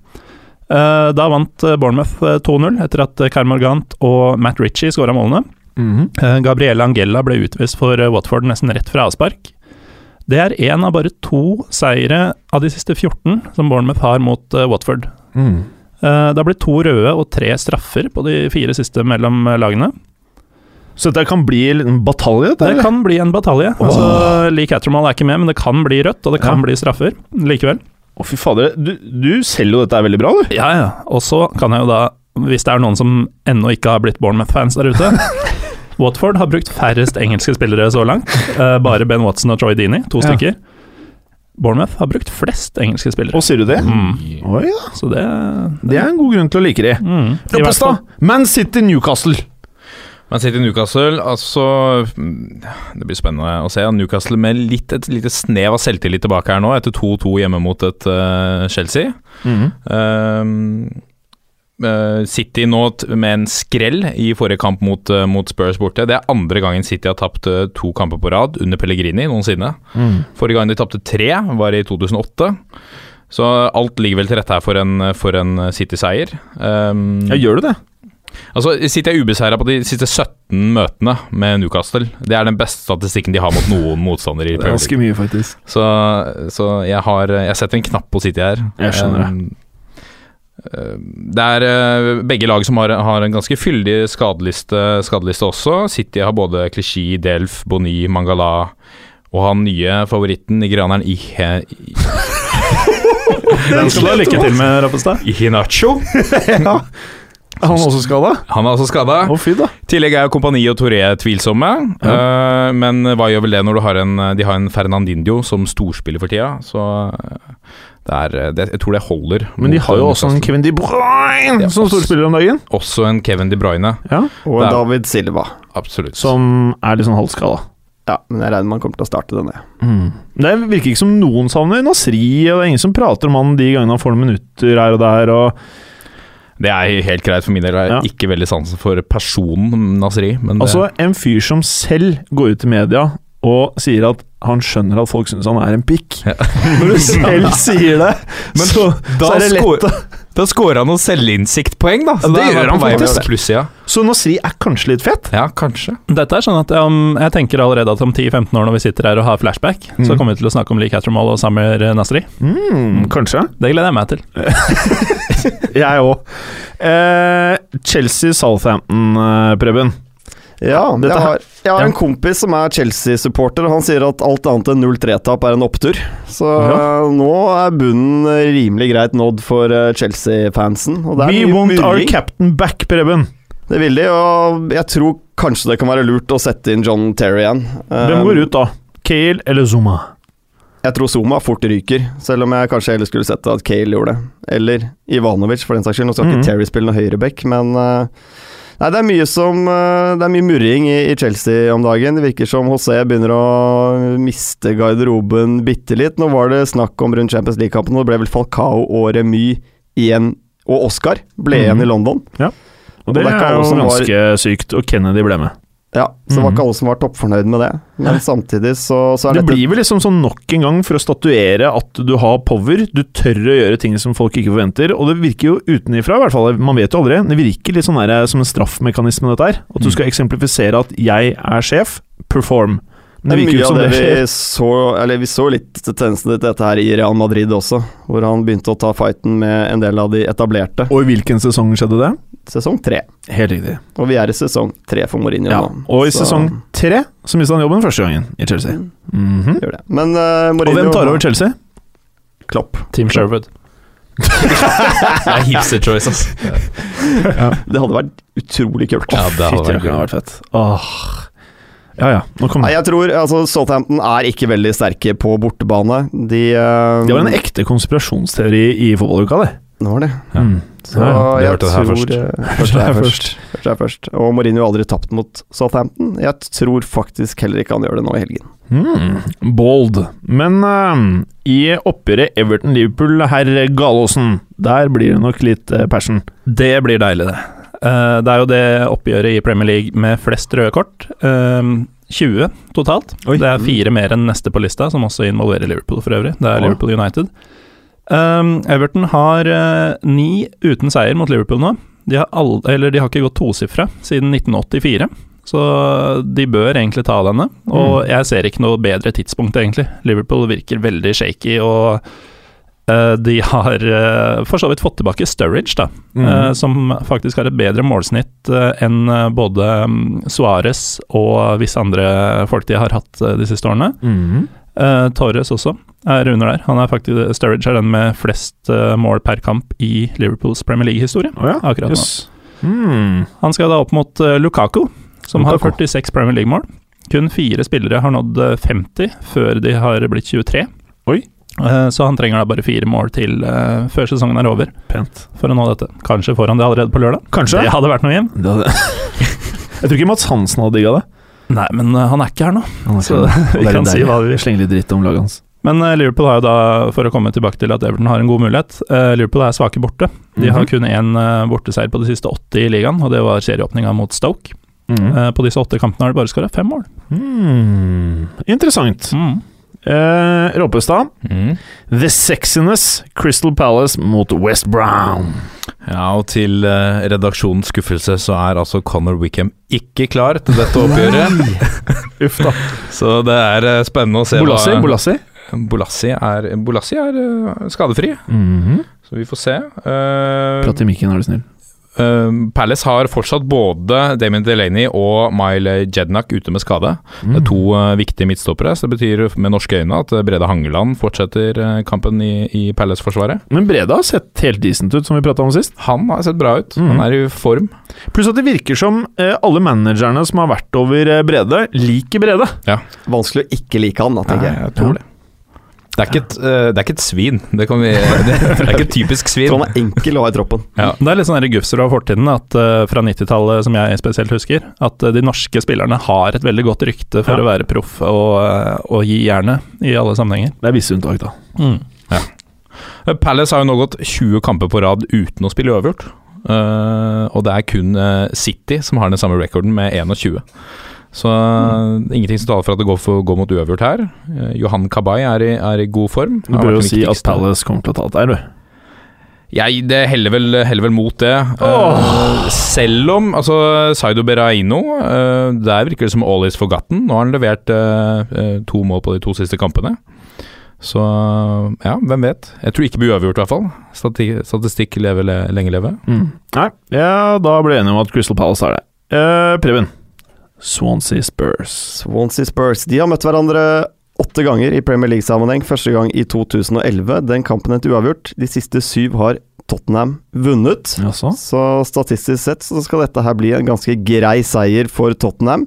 Eh, da vant eh, Bournemouth eh, 2-0 etter at eh, Kermogant og Matt Ritchie skåra målene. Mm-hmm. Eh, Gabriele Angella ble utvist for eh, Watford nesten rett fra avspark. Det er én av bare to seire av de siste 14 som Bournemouth har mot eh, Watford. Mm. Eh, Det har blitt to røde og tre straffer på de fire siste mellom eh, lagene. Så dette kan bli en liten batalje? dette, Det eller? kan bli en batalje. Åh. Altså, Lee Cattermall er ikke med, men det kan bli rødt, og det kan Ja. bli straffer likevel. Å, fy fader. Du, du selger jo dette her veldig bra, du. Ja, ja. Og så kan jeg jo da, hvis det er noen som ennå ikke har blitt Bournemouth-fans der ute Watford har brukt færrest engelske spillere så langt. eh, bare Ben Watson og Troy Deaney, to Ja. stykker. Bournemouth har brukt flest engelske spillere. Og sier du det? Mm. Oi, ja. Så det Det er en god grunn til å like det. mm, i hvert Roppestad, fall. Man City Newcastle. Man sitter i Newcastle, altså mm, Det blir spennende å se. Newcastle med litt, et lite snev av selvtillit tilbake her nå, etter 2-2 hjemme mot et eh, Chelsea. Mm-hmm. Hmm. Ehm, eh, City nå t- med en skrell i forrige kamp mot, eh, mot Spurs borte. Det er andre gangen City har tapt eh, to kamper på rad under Pellegrini noensinne. Mm-hmm. Forrige gang de tapte tre, var i 2008. Så alt ligger vel til rette her for en, for en City-seier. Ehm, Ja, gjør du det? Altså, City er ubeseira på de siste 17 møtene med Newcastle. Det er den beste statistikken de har mot noen motstander i Premier League. mye, faktisk. Så, så jeg har Jeg setter en knapp på City her. Jeg skjønner det. Eh, Det er eh, begge lag som har, har en ganske fyldig skadeliste, skadeliste også. City har både Clichy, Delf, Boni, Mangala og han nye favoritten, nigerianeren Ihe... Den skal du ha lykke til med, Roppestad. Ihinacho. Er han også skada? Han er altså skada. Å, fy da. I tillegg er jo Kompani og Touré tvilsomme, eh, men hva gjør vel det når du har en, de har en Fernandinho som storspiller for tida? Så eh, det er, det, jeg tror det holder. Men de mot, har jo eh, også en Newcastle. Kevin De Bruyne Ja, som også- storspiller om dagen. Også en Kevin De Bruyne, Ja. Og Det er- David Silva. absolutt. Som er litt sånn halvskada. Ja, men jeg regner med han kommer til å starte denne. Det virker ikke som noen savner Nasri, og det er ingen som prater om han de gangene han får noen minutter her og der. Og, Det er helt greit for min del. Jeg Ja. har ikke veldig sansen for personen Nasri, men eh, det, altså, en fyr som selv går ut i media og sier at han skjønner at folk syns han er en pikk. Når du selv sier det, Men så, så da er det skår- lett. å- da scorer han noen selvinnsiktpoeng, da. Ja, da det er gjør på han vei med faktisk. Plussida. Så Nasri er kanskje litt fett? Ja, kanskje. Dette er sånn at om, Jeg tenker allerede at om 10-15 år, når vi sitter her og har flashback, så Mm. kommer vi til å snakke om Lee Cattermall og Summer Nasri. Mm, kanskje. Det gleder jeg meg til. Jeg òg. Eh, Chelsea Southampton, eh, Preben. Ja, jeg Dette her- har, jeg har Ja. en kompis som er Chelsea-supporter, og han sier at alt annet enn 0-3-tap er en opptur. Så Ja. eh, nå er bunnen eh, rimelig greit nådd for eh, Chelsea-fansen. og det er We mye want our murring. captain back, Preben. Det vil de, og jeg tror kanskje det kan være lurt å sette inn John Terry igjen. Eh, Um, Hvem går ut da? Kale eller Zuma? Jeg tror Zuma fort ryker, selv om jeg kanskje heller skulle sett at Kale gjorde det. Eller Ivanovic, for den saks skyld. Nå skal Mhm. ikke Terry spille noe høyreback, men eh, Nei, det er mye som eh, Det er mye murring i, i Chelsea om dagen. Det virker som José begynner å miste garderoben bitte litt. Nå var det snakk om rundt Champions League-kampen, og det ble vel Falcao og Remy i en og Oscar ble Mhm. igjen i London. Og det Og det er ikke er alle jo som var- ganske sykt. Og Kennedy ble med. Ja, Så det var ikke alle som var toppfornøyd med det. Men samtidig så, så er Mhm. Det dette blir vel liksom sånn nok en gang for å statuere at du har power. Du tør å gjøre ting som folk ikke forventer, og det virker jo utenifra, i hvert fall. Man vet jo aldri. Det virker litt sånn der, som en straffmekanisme, dette her. Mm. At du skal eksemplifisere at 'jeg er sjef', perform. Men Det det er virker jo mye ikke av som det det skjer. vi så Eller vi så litt tendensen til dette her i Real Madrid også, hvor han begynte å ta fighten med en del av de etablerte. Og i hvilken sesong skjedde det? Sesong tre. Helt riktig. Og vi er i sesong tre for Mourinho Ja. nå. Og i så sesong tre så mista han jobben første gangen i Chelsea. Mhm. gjør det. Men eh, Og Mourinho hvem tar over Chelsea? Klopp. Team Sherwood. Det er hipster choice, ass. Det hadde vært utrolig kult. Ja, det hadde Fytti vært rakkeren, det gøy. vært fett. Åh. Ja ja, nå kom Nei, det. jeg tror altså, Southampton er ikke veldig sterke på bortebane. De eh, Det var en ekte konspirasjonsteori i fotballuka, det. Det var det. Ja. Mm. Så Ja, de jeg hørte det her tror først. eh, Først her først. Først her først. Og Mourinho har aldri tapt mot Southampton. Jeg tror faktisk heller ikke han gjør det nå i helgen. Mm, bold. Men eh, i oppgjøret Everton-Liverpool, herr Galåsen, der blir det nok litt eh, passion. Det blir deilig, det. Eh, det er jo det oppgjøret i Premier League med flest røde kort. Eh, 20 totalt. Det er fire mer enn neste på lista, som også involverer Liverpool for øvrig. Det er Liverpool United. Um, Everton har eh, ni uten seier mot Liverpool nå. De har, all, eller de har ikke gått tosifra siden 1984, så de bør egentlig ta denne. Og jeg ser ikke noe bedre tidspunkt, egentlig. Liverpool virker veldig shaky, og eh, de har eh, for så vidt fått tilbake Sturridge, da. Mm. eh, som faktisk har et bedre målsnitt eh, enn eh, både mm, Suárez og visse andre folk de har hatt eh, de siste årene. Mm. Eh, Torres også er under der. Han er faktisk, Sturridge er den med flest eh, mål per kamp i Liverpools Premier League-historie. Å ja, Akkurat nå. jøss. Mm. Han skal da opp mot eh, Lukaku, som Lukaku. har 46 Premier League-mål. Kun fire spillere har nådd eh, 50 før de har blitt 23. Oi. Eh, Så han trenger da bare fire mål til eh, før sesongen er over Pent. for å nå dette. Kanskje får han det allerede på lørdag. Kanskje. Det hadde vært noe hjem. Det hadde- Jeg tror ikke Mats Hansen hadde digga det. Nei, men eh, han er ikke her nå. Så vi kan si hva vi vil. Slenge litt dritt om laget hans. Men eh, Liverpool har jo da, for å komme tilbake til at Everton har en god mulighet eh, Liverpool er svake borte. De har Mhm. kun én eh, borteseier på de siste åtte i ligaen, og det var serieåpninga mot Stoke. Mhm. Eh, På disse åtte kampene har de bare skåra fem mål. Mm. Interessant. Mm. Eh, Råpestad, Mm. The Sexiness, Crystal Palace mot West Brown. Ja, og til eh, redaksjonens skuffelse så er altså Connor Wickham ikke klar til dette oppgjøret. Uff da. så det er eh, spennende å se Bolassi, hva Bolassi. Bolassi er, Bolassi er eh, skadefri, Mhm. så vi får se. Eh, Prat Mm. i mikken, er du snill. eh, Palace har fortsatt både Damien Delaney og Mile Jednak ute med skade. Det er Mm. to eh, viktige midtstoppere, så det betyr med norske øyne at eh, Brede Hangeland fortsetter eh, kampen i, i Palace-forsvaret. Men Brede har sett helt decent ut, som vi prata om sist. Han har sett bra ut, Mhm. han er i form. Pluss at det virker som eh, alle managerne som har vært over eh, Brede, liker Brede. Vanskelig å ikke like han, da, tenker jeg. tror Eh, det. Det er, ikke et, eh, det er ikke et svin. Det, kan vi, det, det er ikke et typisk Jeg svin. tror han er enkel å ha i troppen. Det er litt sånn der gufser av fortiden at eh, fra 90-tallet, som jeg spesielt husker, at eh, de norske spillerne har et veldig godt rykte for Ja. å være proff og, eh, og gi jernet i alle sammenhenger. Det er visse unntak, da. Mhm. Palace har jo nå gått 20 kamper på rad uten å spille uavgjort. Eh, og det er kun eh, City som har den samme rekorden med 21. Så Mm. eh, ingenting som taler for at det går, for, går mot uavgjort her. Eh, Johan Kabay er, i- er i god form. Du Har vært bør jo den si at viktigste. Palace kommer til å ta det der, du. Jeg det heller, vel, heller vel mot det. Eh, selv om altså, Saido Beraino eh, Der virker det som all is forgotten. Nå har han levert eh, eh, to mål på de to siste kampene. Så ja, hvem vet. Jeg tror ikke det blir uavgjort, i hvert fall. Statistikk, statistikk leve, le, lenge leve. Nei, ja, da ble jeg enig om at Crystal Palace er det. Eh, Preben. Swansea Spurs. Swansea Spurs de har møtt hverandre åtte ganger i Premier League-sammenheng. Første gang i 2011. Den kampen endte uavgjort. De siste syv har Tottenham vunnet. Jaså? Så statistisk sett så skal dette her bli en ganske grei seier for Tottenham.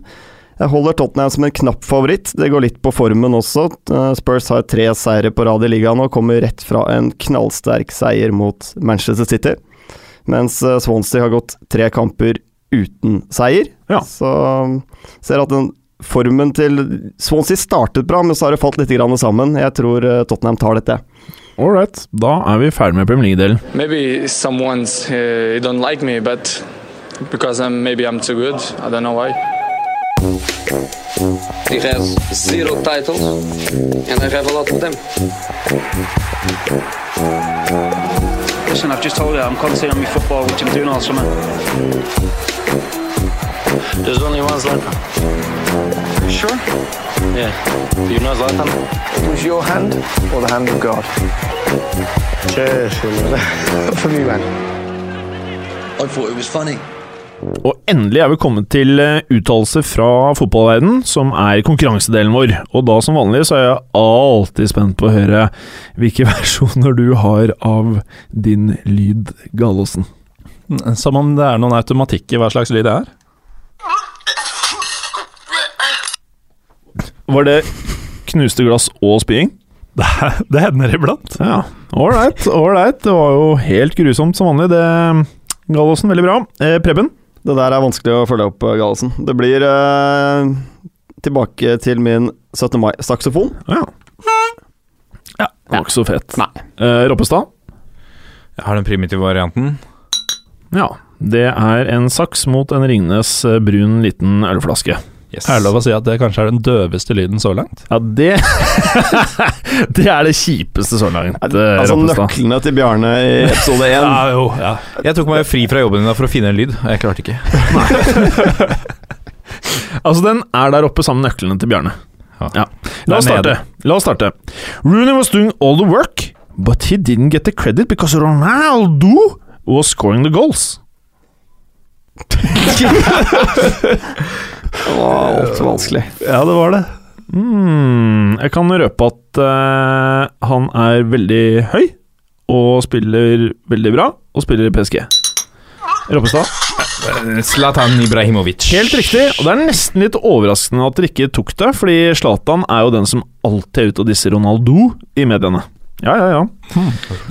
Jeg holder Tottenham som en knapp favoritt. Det går litt på formen også. Eh, Spurs har tre seire på rad i ligaen og kommer rett fra en knallsterk seier mot Manchester City. Mens eh, Swansea har gått tre kamper uten seier. Ja. Så um, ser at den formen til Swansea startet bra, men så har det falt litt grann sammen. Jeg tror eh, Tottenham tar dette. All right, da er vi ferdig med Premier League-delen. Maybe someone's uh, don't like me, but because I'm maybe I'm too good. I don't know why. He has zero titles, and I have a lot of them. Listen, I've just told you I'm concentrating on my football, which I'm doing all summer. There's only one Zlatan. Sure? Yeah. Do you know Zlatan? It was your hand or the hand of God? I thought it was funny. Og endelig er vi kommet til eh, uttalelse fra fotballverden, som er konkurransedelen vår. Og da som vanlig så er jeg alltid spent på å høre hvilke versjoner du har av din lyd, Gallosen. Som om det er noen automatikk i hva slags lyd det er. Var det knuste glass og spying? Det, er- det hender iblant. Ja. Ålreit, ålreit. Det var jo helt grusomt som vanlig, det, Gallosen. Veldig bra. Eh, Preben? Det der er vanskelig å følge opp, Galesen. Det blir eh, tilbake til min 17. mai-saksofon. Ja. ja. Det var ikke så fett. Nei. Eh, Roppestad? Jeg har den primitive varianten. Ja. Det er en saks mot en Ringnes eh, brun liten ølflaske. Yes. Er det lov å si at det kanskje er den døveste lyden så langt? Ja, det Det er det kjipeste så langt. eh, Altså Roppestad. nøklene til Bjarne i episode 1. jo, ja. Ah, Jeg tok meg fri fra jobben din da for å finne en lyd. Jeg klarte ikke. Altså, den er der oppe sammen med nøklene til Bjarne. Ja. Ja. La oss Der starte. nede. La oss starte. Rooney was doing all the work, but he didn't get the credit because Ronaldo was scoring the goals. Det var altfor vanskelig. Ja, det var det. Hmm, jeg kan røpe at eh, han er veldig høy, og spiller veldig bra, og spiller i PSG. Roppestad. Zlatan Ibrahimovic. Helt riktig, og det er nesten litt overraskende at dere ikke tok det, fordi Zlatan er jo den som alltid er ute og disser Ronaldo i mediene. Ja, ja, ja.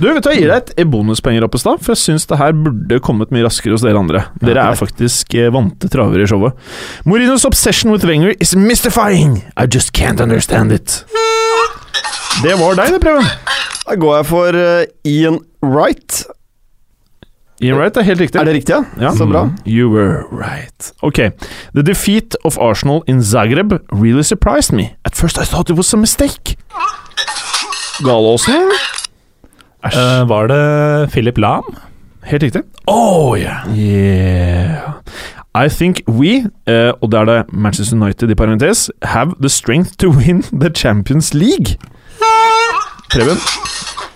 Du, vet du, Jeg gir deg et bonuspoeng, Roppestad, for jeg syns det her burde kommet mye raskere hos dere andre. Dere er faktisk eh, vante travere i showet. Morinos obsession with Wenger is mystifying. I just can't understand it. Det var deg, det, Preben. Da går jeg for eh, Ian Wright. Ian Wright er helt riktig. Er det riktig? ja? Ja. Så bra. Mm. You were right. Ok. The defeat of Arsenal in Zagreb really surprised me. At first I thought it was a mistake. Galåsen. Eh, var det Philip Lahm? Helt riktig. Oh yeah. Yeah. I think we, eh, og det er det Manchester United i parentes, have the strength to win the Champions League. Preben.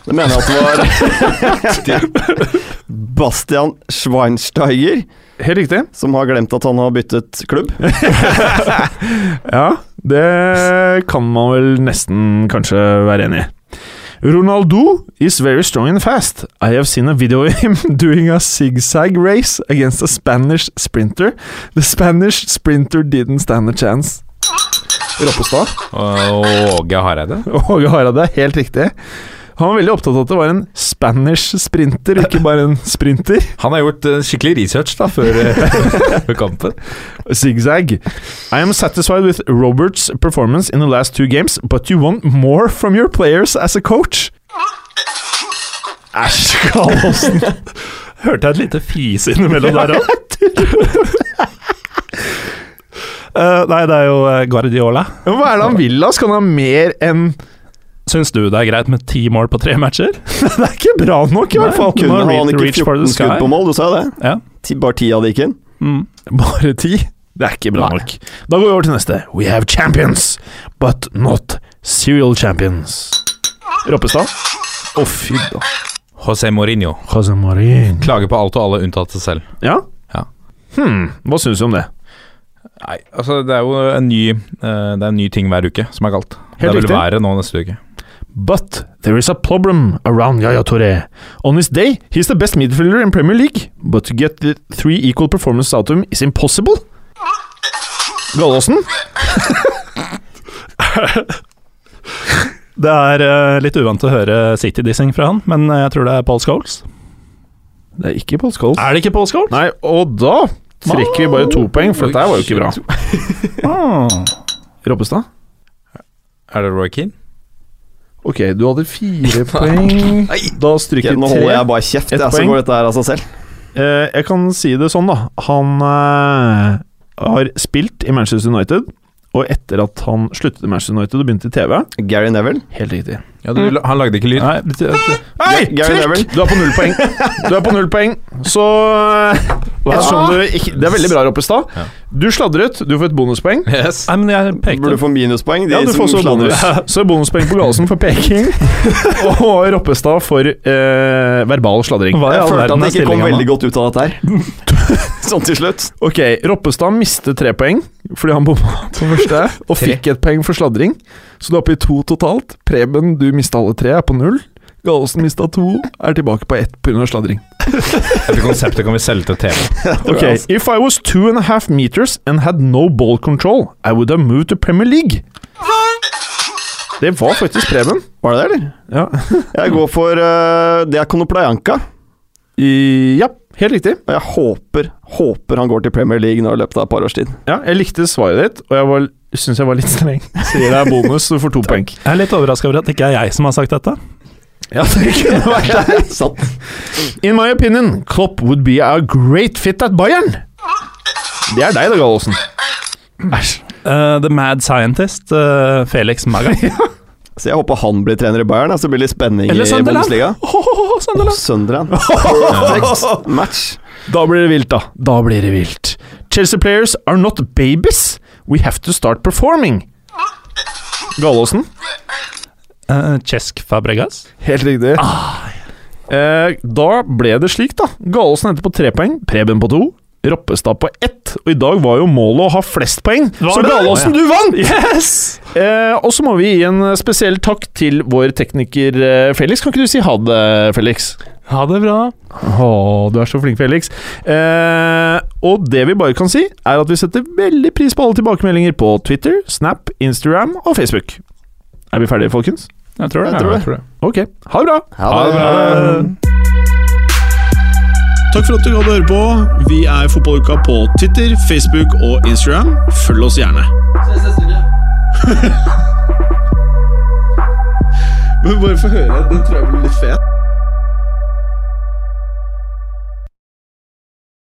Det mener jeg at det var Bastian Schweinsteiger, Helt riktig. som har glemt at han har byttet klubb. Ja, det kan man vel nesten kanskje være enig i. Ronaldo is very strong and fast. I have seen a video of him doing a zigzag race against a Spanish sprinter. The Spanish sprinter didn't stand a chance. Roppestad. Og Åge Hareide. Åge Hareide er helt riktig. Han var veldig opptatt av at det var en Spanish sprinter, ikke bare en sprinter. Han har gjort eh, skikkelig research da før, eh, før kampen. Zigzag. I am satisfied with Roberts' performance in the last two games, but you want more from your players as a coach. Æsj, Gallosen. Hørte jeg et lite fis innimellom der òg? nei, det er jo eh, Guardiola. Hva er det han vil, da? Skal han ha mer enn Syns du det er greit med ti mål på tre matcher? Det er ikke bra nok, i hvert fall. Kunne Nå han reach- ikke reach for the 14 skudd sky. på mål? Du sa jo det. Ja. Ti- Bare ti av de gikk inn. Bare ti? Det er ikke bra nok. Da går vi over til neste. We have champions, but not serial champions. Roppestad? Å, fy da. José Mourinho. José Marin. Klager på alt og alle unntatt seg selv. Ja? Ja. Hmm, hva syns du om det? Nei, altså Det er jo en ny, eh, det er en ny ting hver uke som er galt. Helt det vil riktig. være nå neste uke. But there is a problem around Yaya Touré. On his day, he's the best midfielder in Premier League, but to get the three equal performances out of him is impossible. Gallåsen? Det er eh, litt uvant å høre City-dissing fra han, men eh, jeg tror det er Paul Scholes. Det er ikke Paul Scholes. Er det ikke Paul Scholes? Nei, og da trekker vi bare to poeng, for dette her var jo ikke bra. Ah. Roppestad? Er det Roy Keane? Ok, du hadde fire poeng. Da stryker Nå tre. holder jeg bare kjeft, Ett jeg, så poeng. går dette her av seg selv. Eh, jeg kan si det sånn, da. Han eh, har spilt i Manchester United, og etter at han sluttet i Manchester United og begynte i TV Gary Neville. Helt riktig. Ja, du, han lagde ikke lyd. Nei, det- det- Hei, Ga- Gary Neville. Du er på null poeng. Du er på null poeng. Så eh, ettersom du ikke, Det er veldig bra, Roppestad. Du sladret, du får et bonuspoeng. Yes. nei, men jeg pekte. Burde få minuspoeng. De Ja, du som får også sladrer. bonus. Så bonuspoeng på Galesen for peking, og Roppestad for eh, verbal sladring. Hva i Jeg all følte Ah, verden at er jeg ikke kom stillingen nå? veldig godt ut av dette her. sånn til slutt. Ok, Roppestad mistet tre poeng fordi han bomma på første, og fikk et poeng for sladring. Så du er oppe i to totalt. Preben, du mista alle tre, er på null. Galesen mista to, er tilbake på ett pga. sladring. Dette konseptet kan vi selge til TV. Ok, If I was two and a half meters and had no ball control, I would have moved to Premier League. Det var faktisk Preben. Var det det, eller? Ja, Jeg går for eh, Det er Konoplayanka. I, ja helt riktig. Og jeg håper, håper han går til Premier League nå i løpet av et par års tid. Ja, jeg likte svaret ditt, og jeg var- syns jeg var litt streng. Sier det er bonus, du får to poeng. Jeg er litt overraska over at det ikke er jeg som har sagt dette. Ja, det kunne vært det. Sant. In my opinion, Klopp would be a great fit at Bayern. Det er deg, da, Gallosen. Æsj. Eh, the Mad Scientist, eh, Felix Maga. Så jeg håper han blir trener i Bayern, så det blir litt spenning i Eller Sunderland. Bundesliga. Åh, Sunderland. Sunderland. Perfect match. Da blir det vilt, da. Da blir det vilt. Chelsea players are not babies. We have to start performing. Gallosen. Eh, Cesc Fabregas. Helt riktig. eh, da ble det slik, da. Gallosen endte på tre poeng, Preben på to. Roppestad på ett, og i dag var jo målet å ha flest poeng, så det? Gallosen, du vant! Yes! Eh, og så må vi gi en spesiell takk til vår tekniker eh, Felix. Kan ikke du si ha det, Felix? Ha det bra. Å, du er så flink, Felix. Eh, og det vi bare kan si, er at vi setter veldig pris på alle tilbakemeldinger på Twitter, Snap, Instagram og Facebook. Er vi ferdige, folkens? Jeg tror det. Jeg tror det. Ok, ha det bra! Ha det bra. Takk for at du hadde høre på. Vi er Fotballuka på Twitter, Facebook og Instagram. Følg oss gjerne. Men bare få høre. Den tror jeg blir litt fet.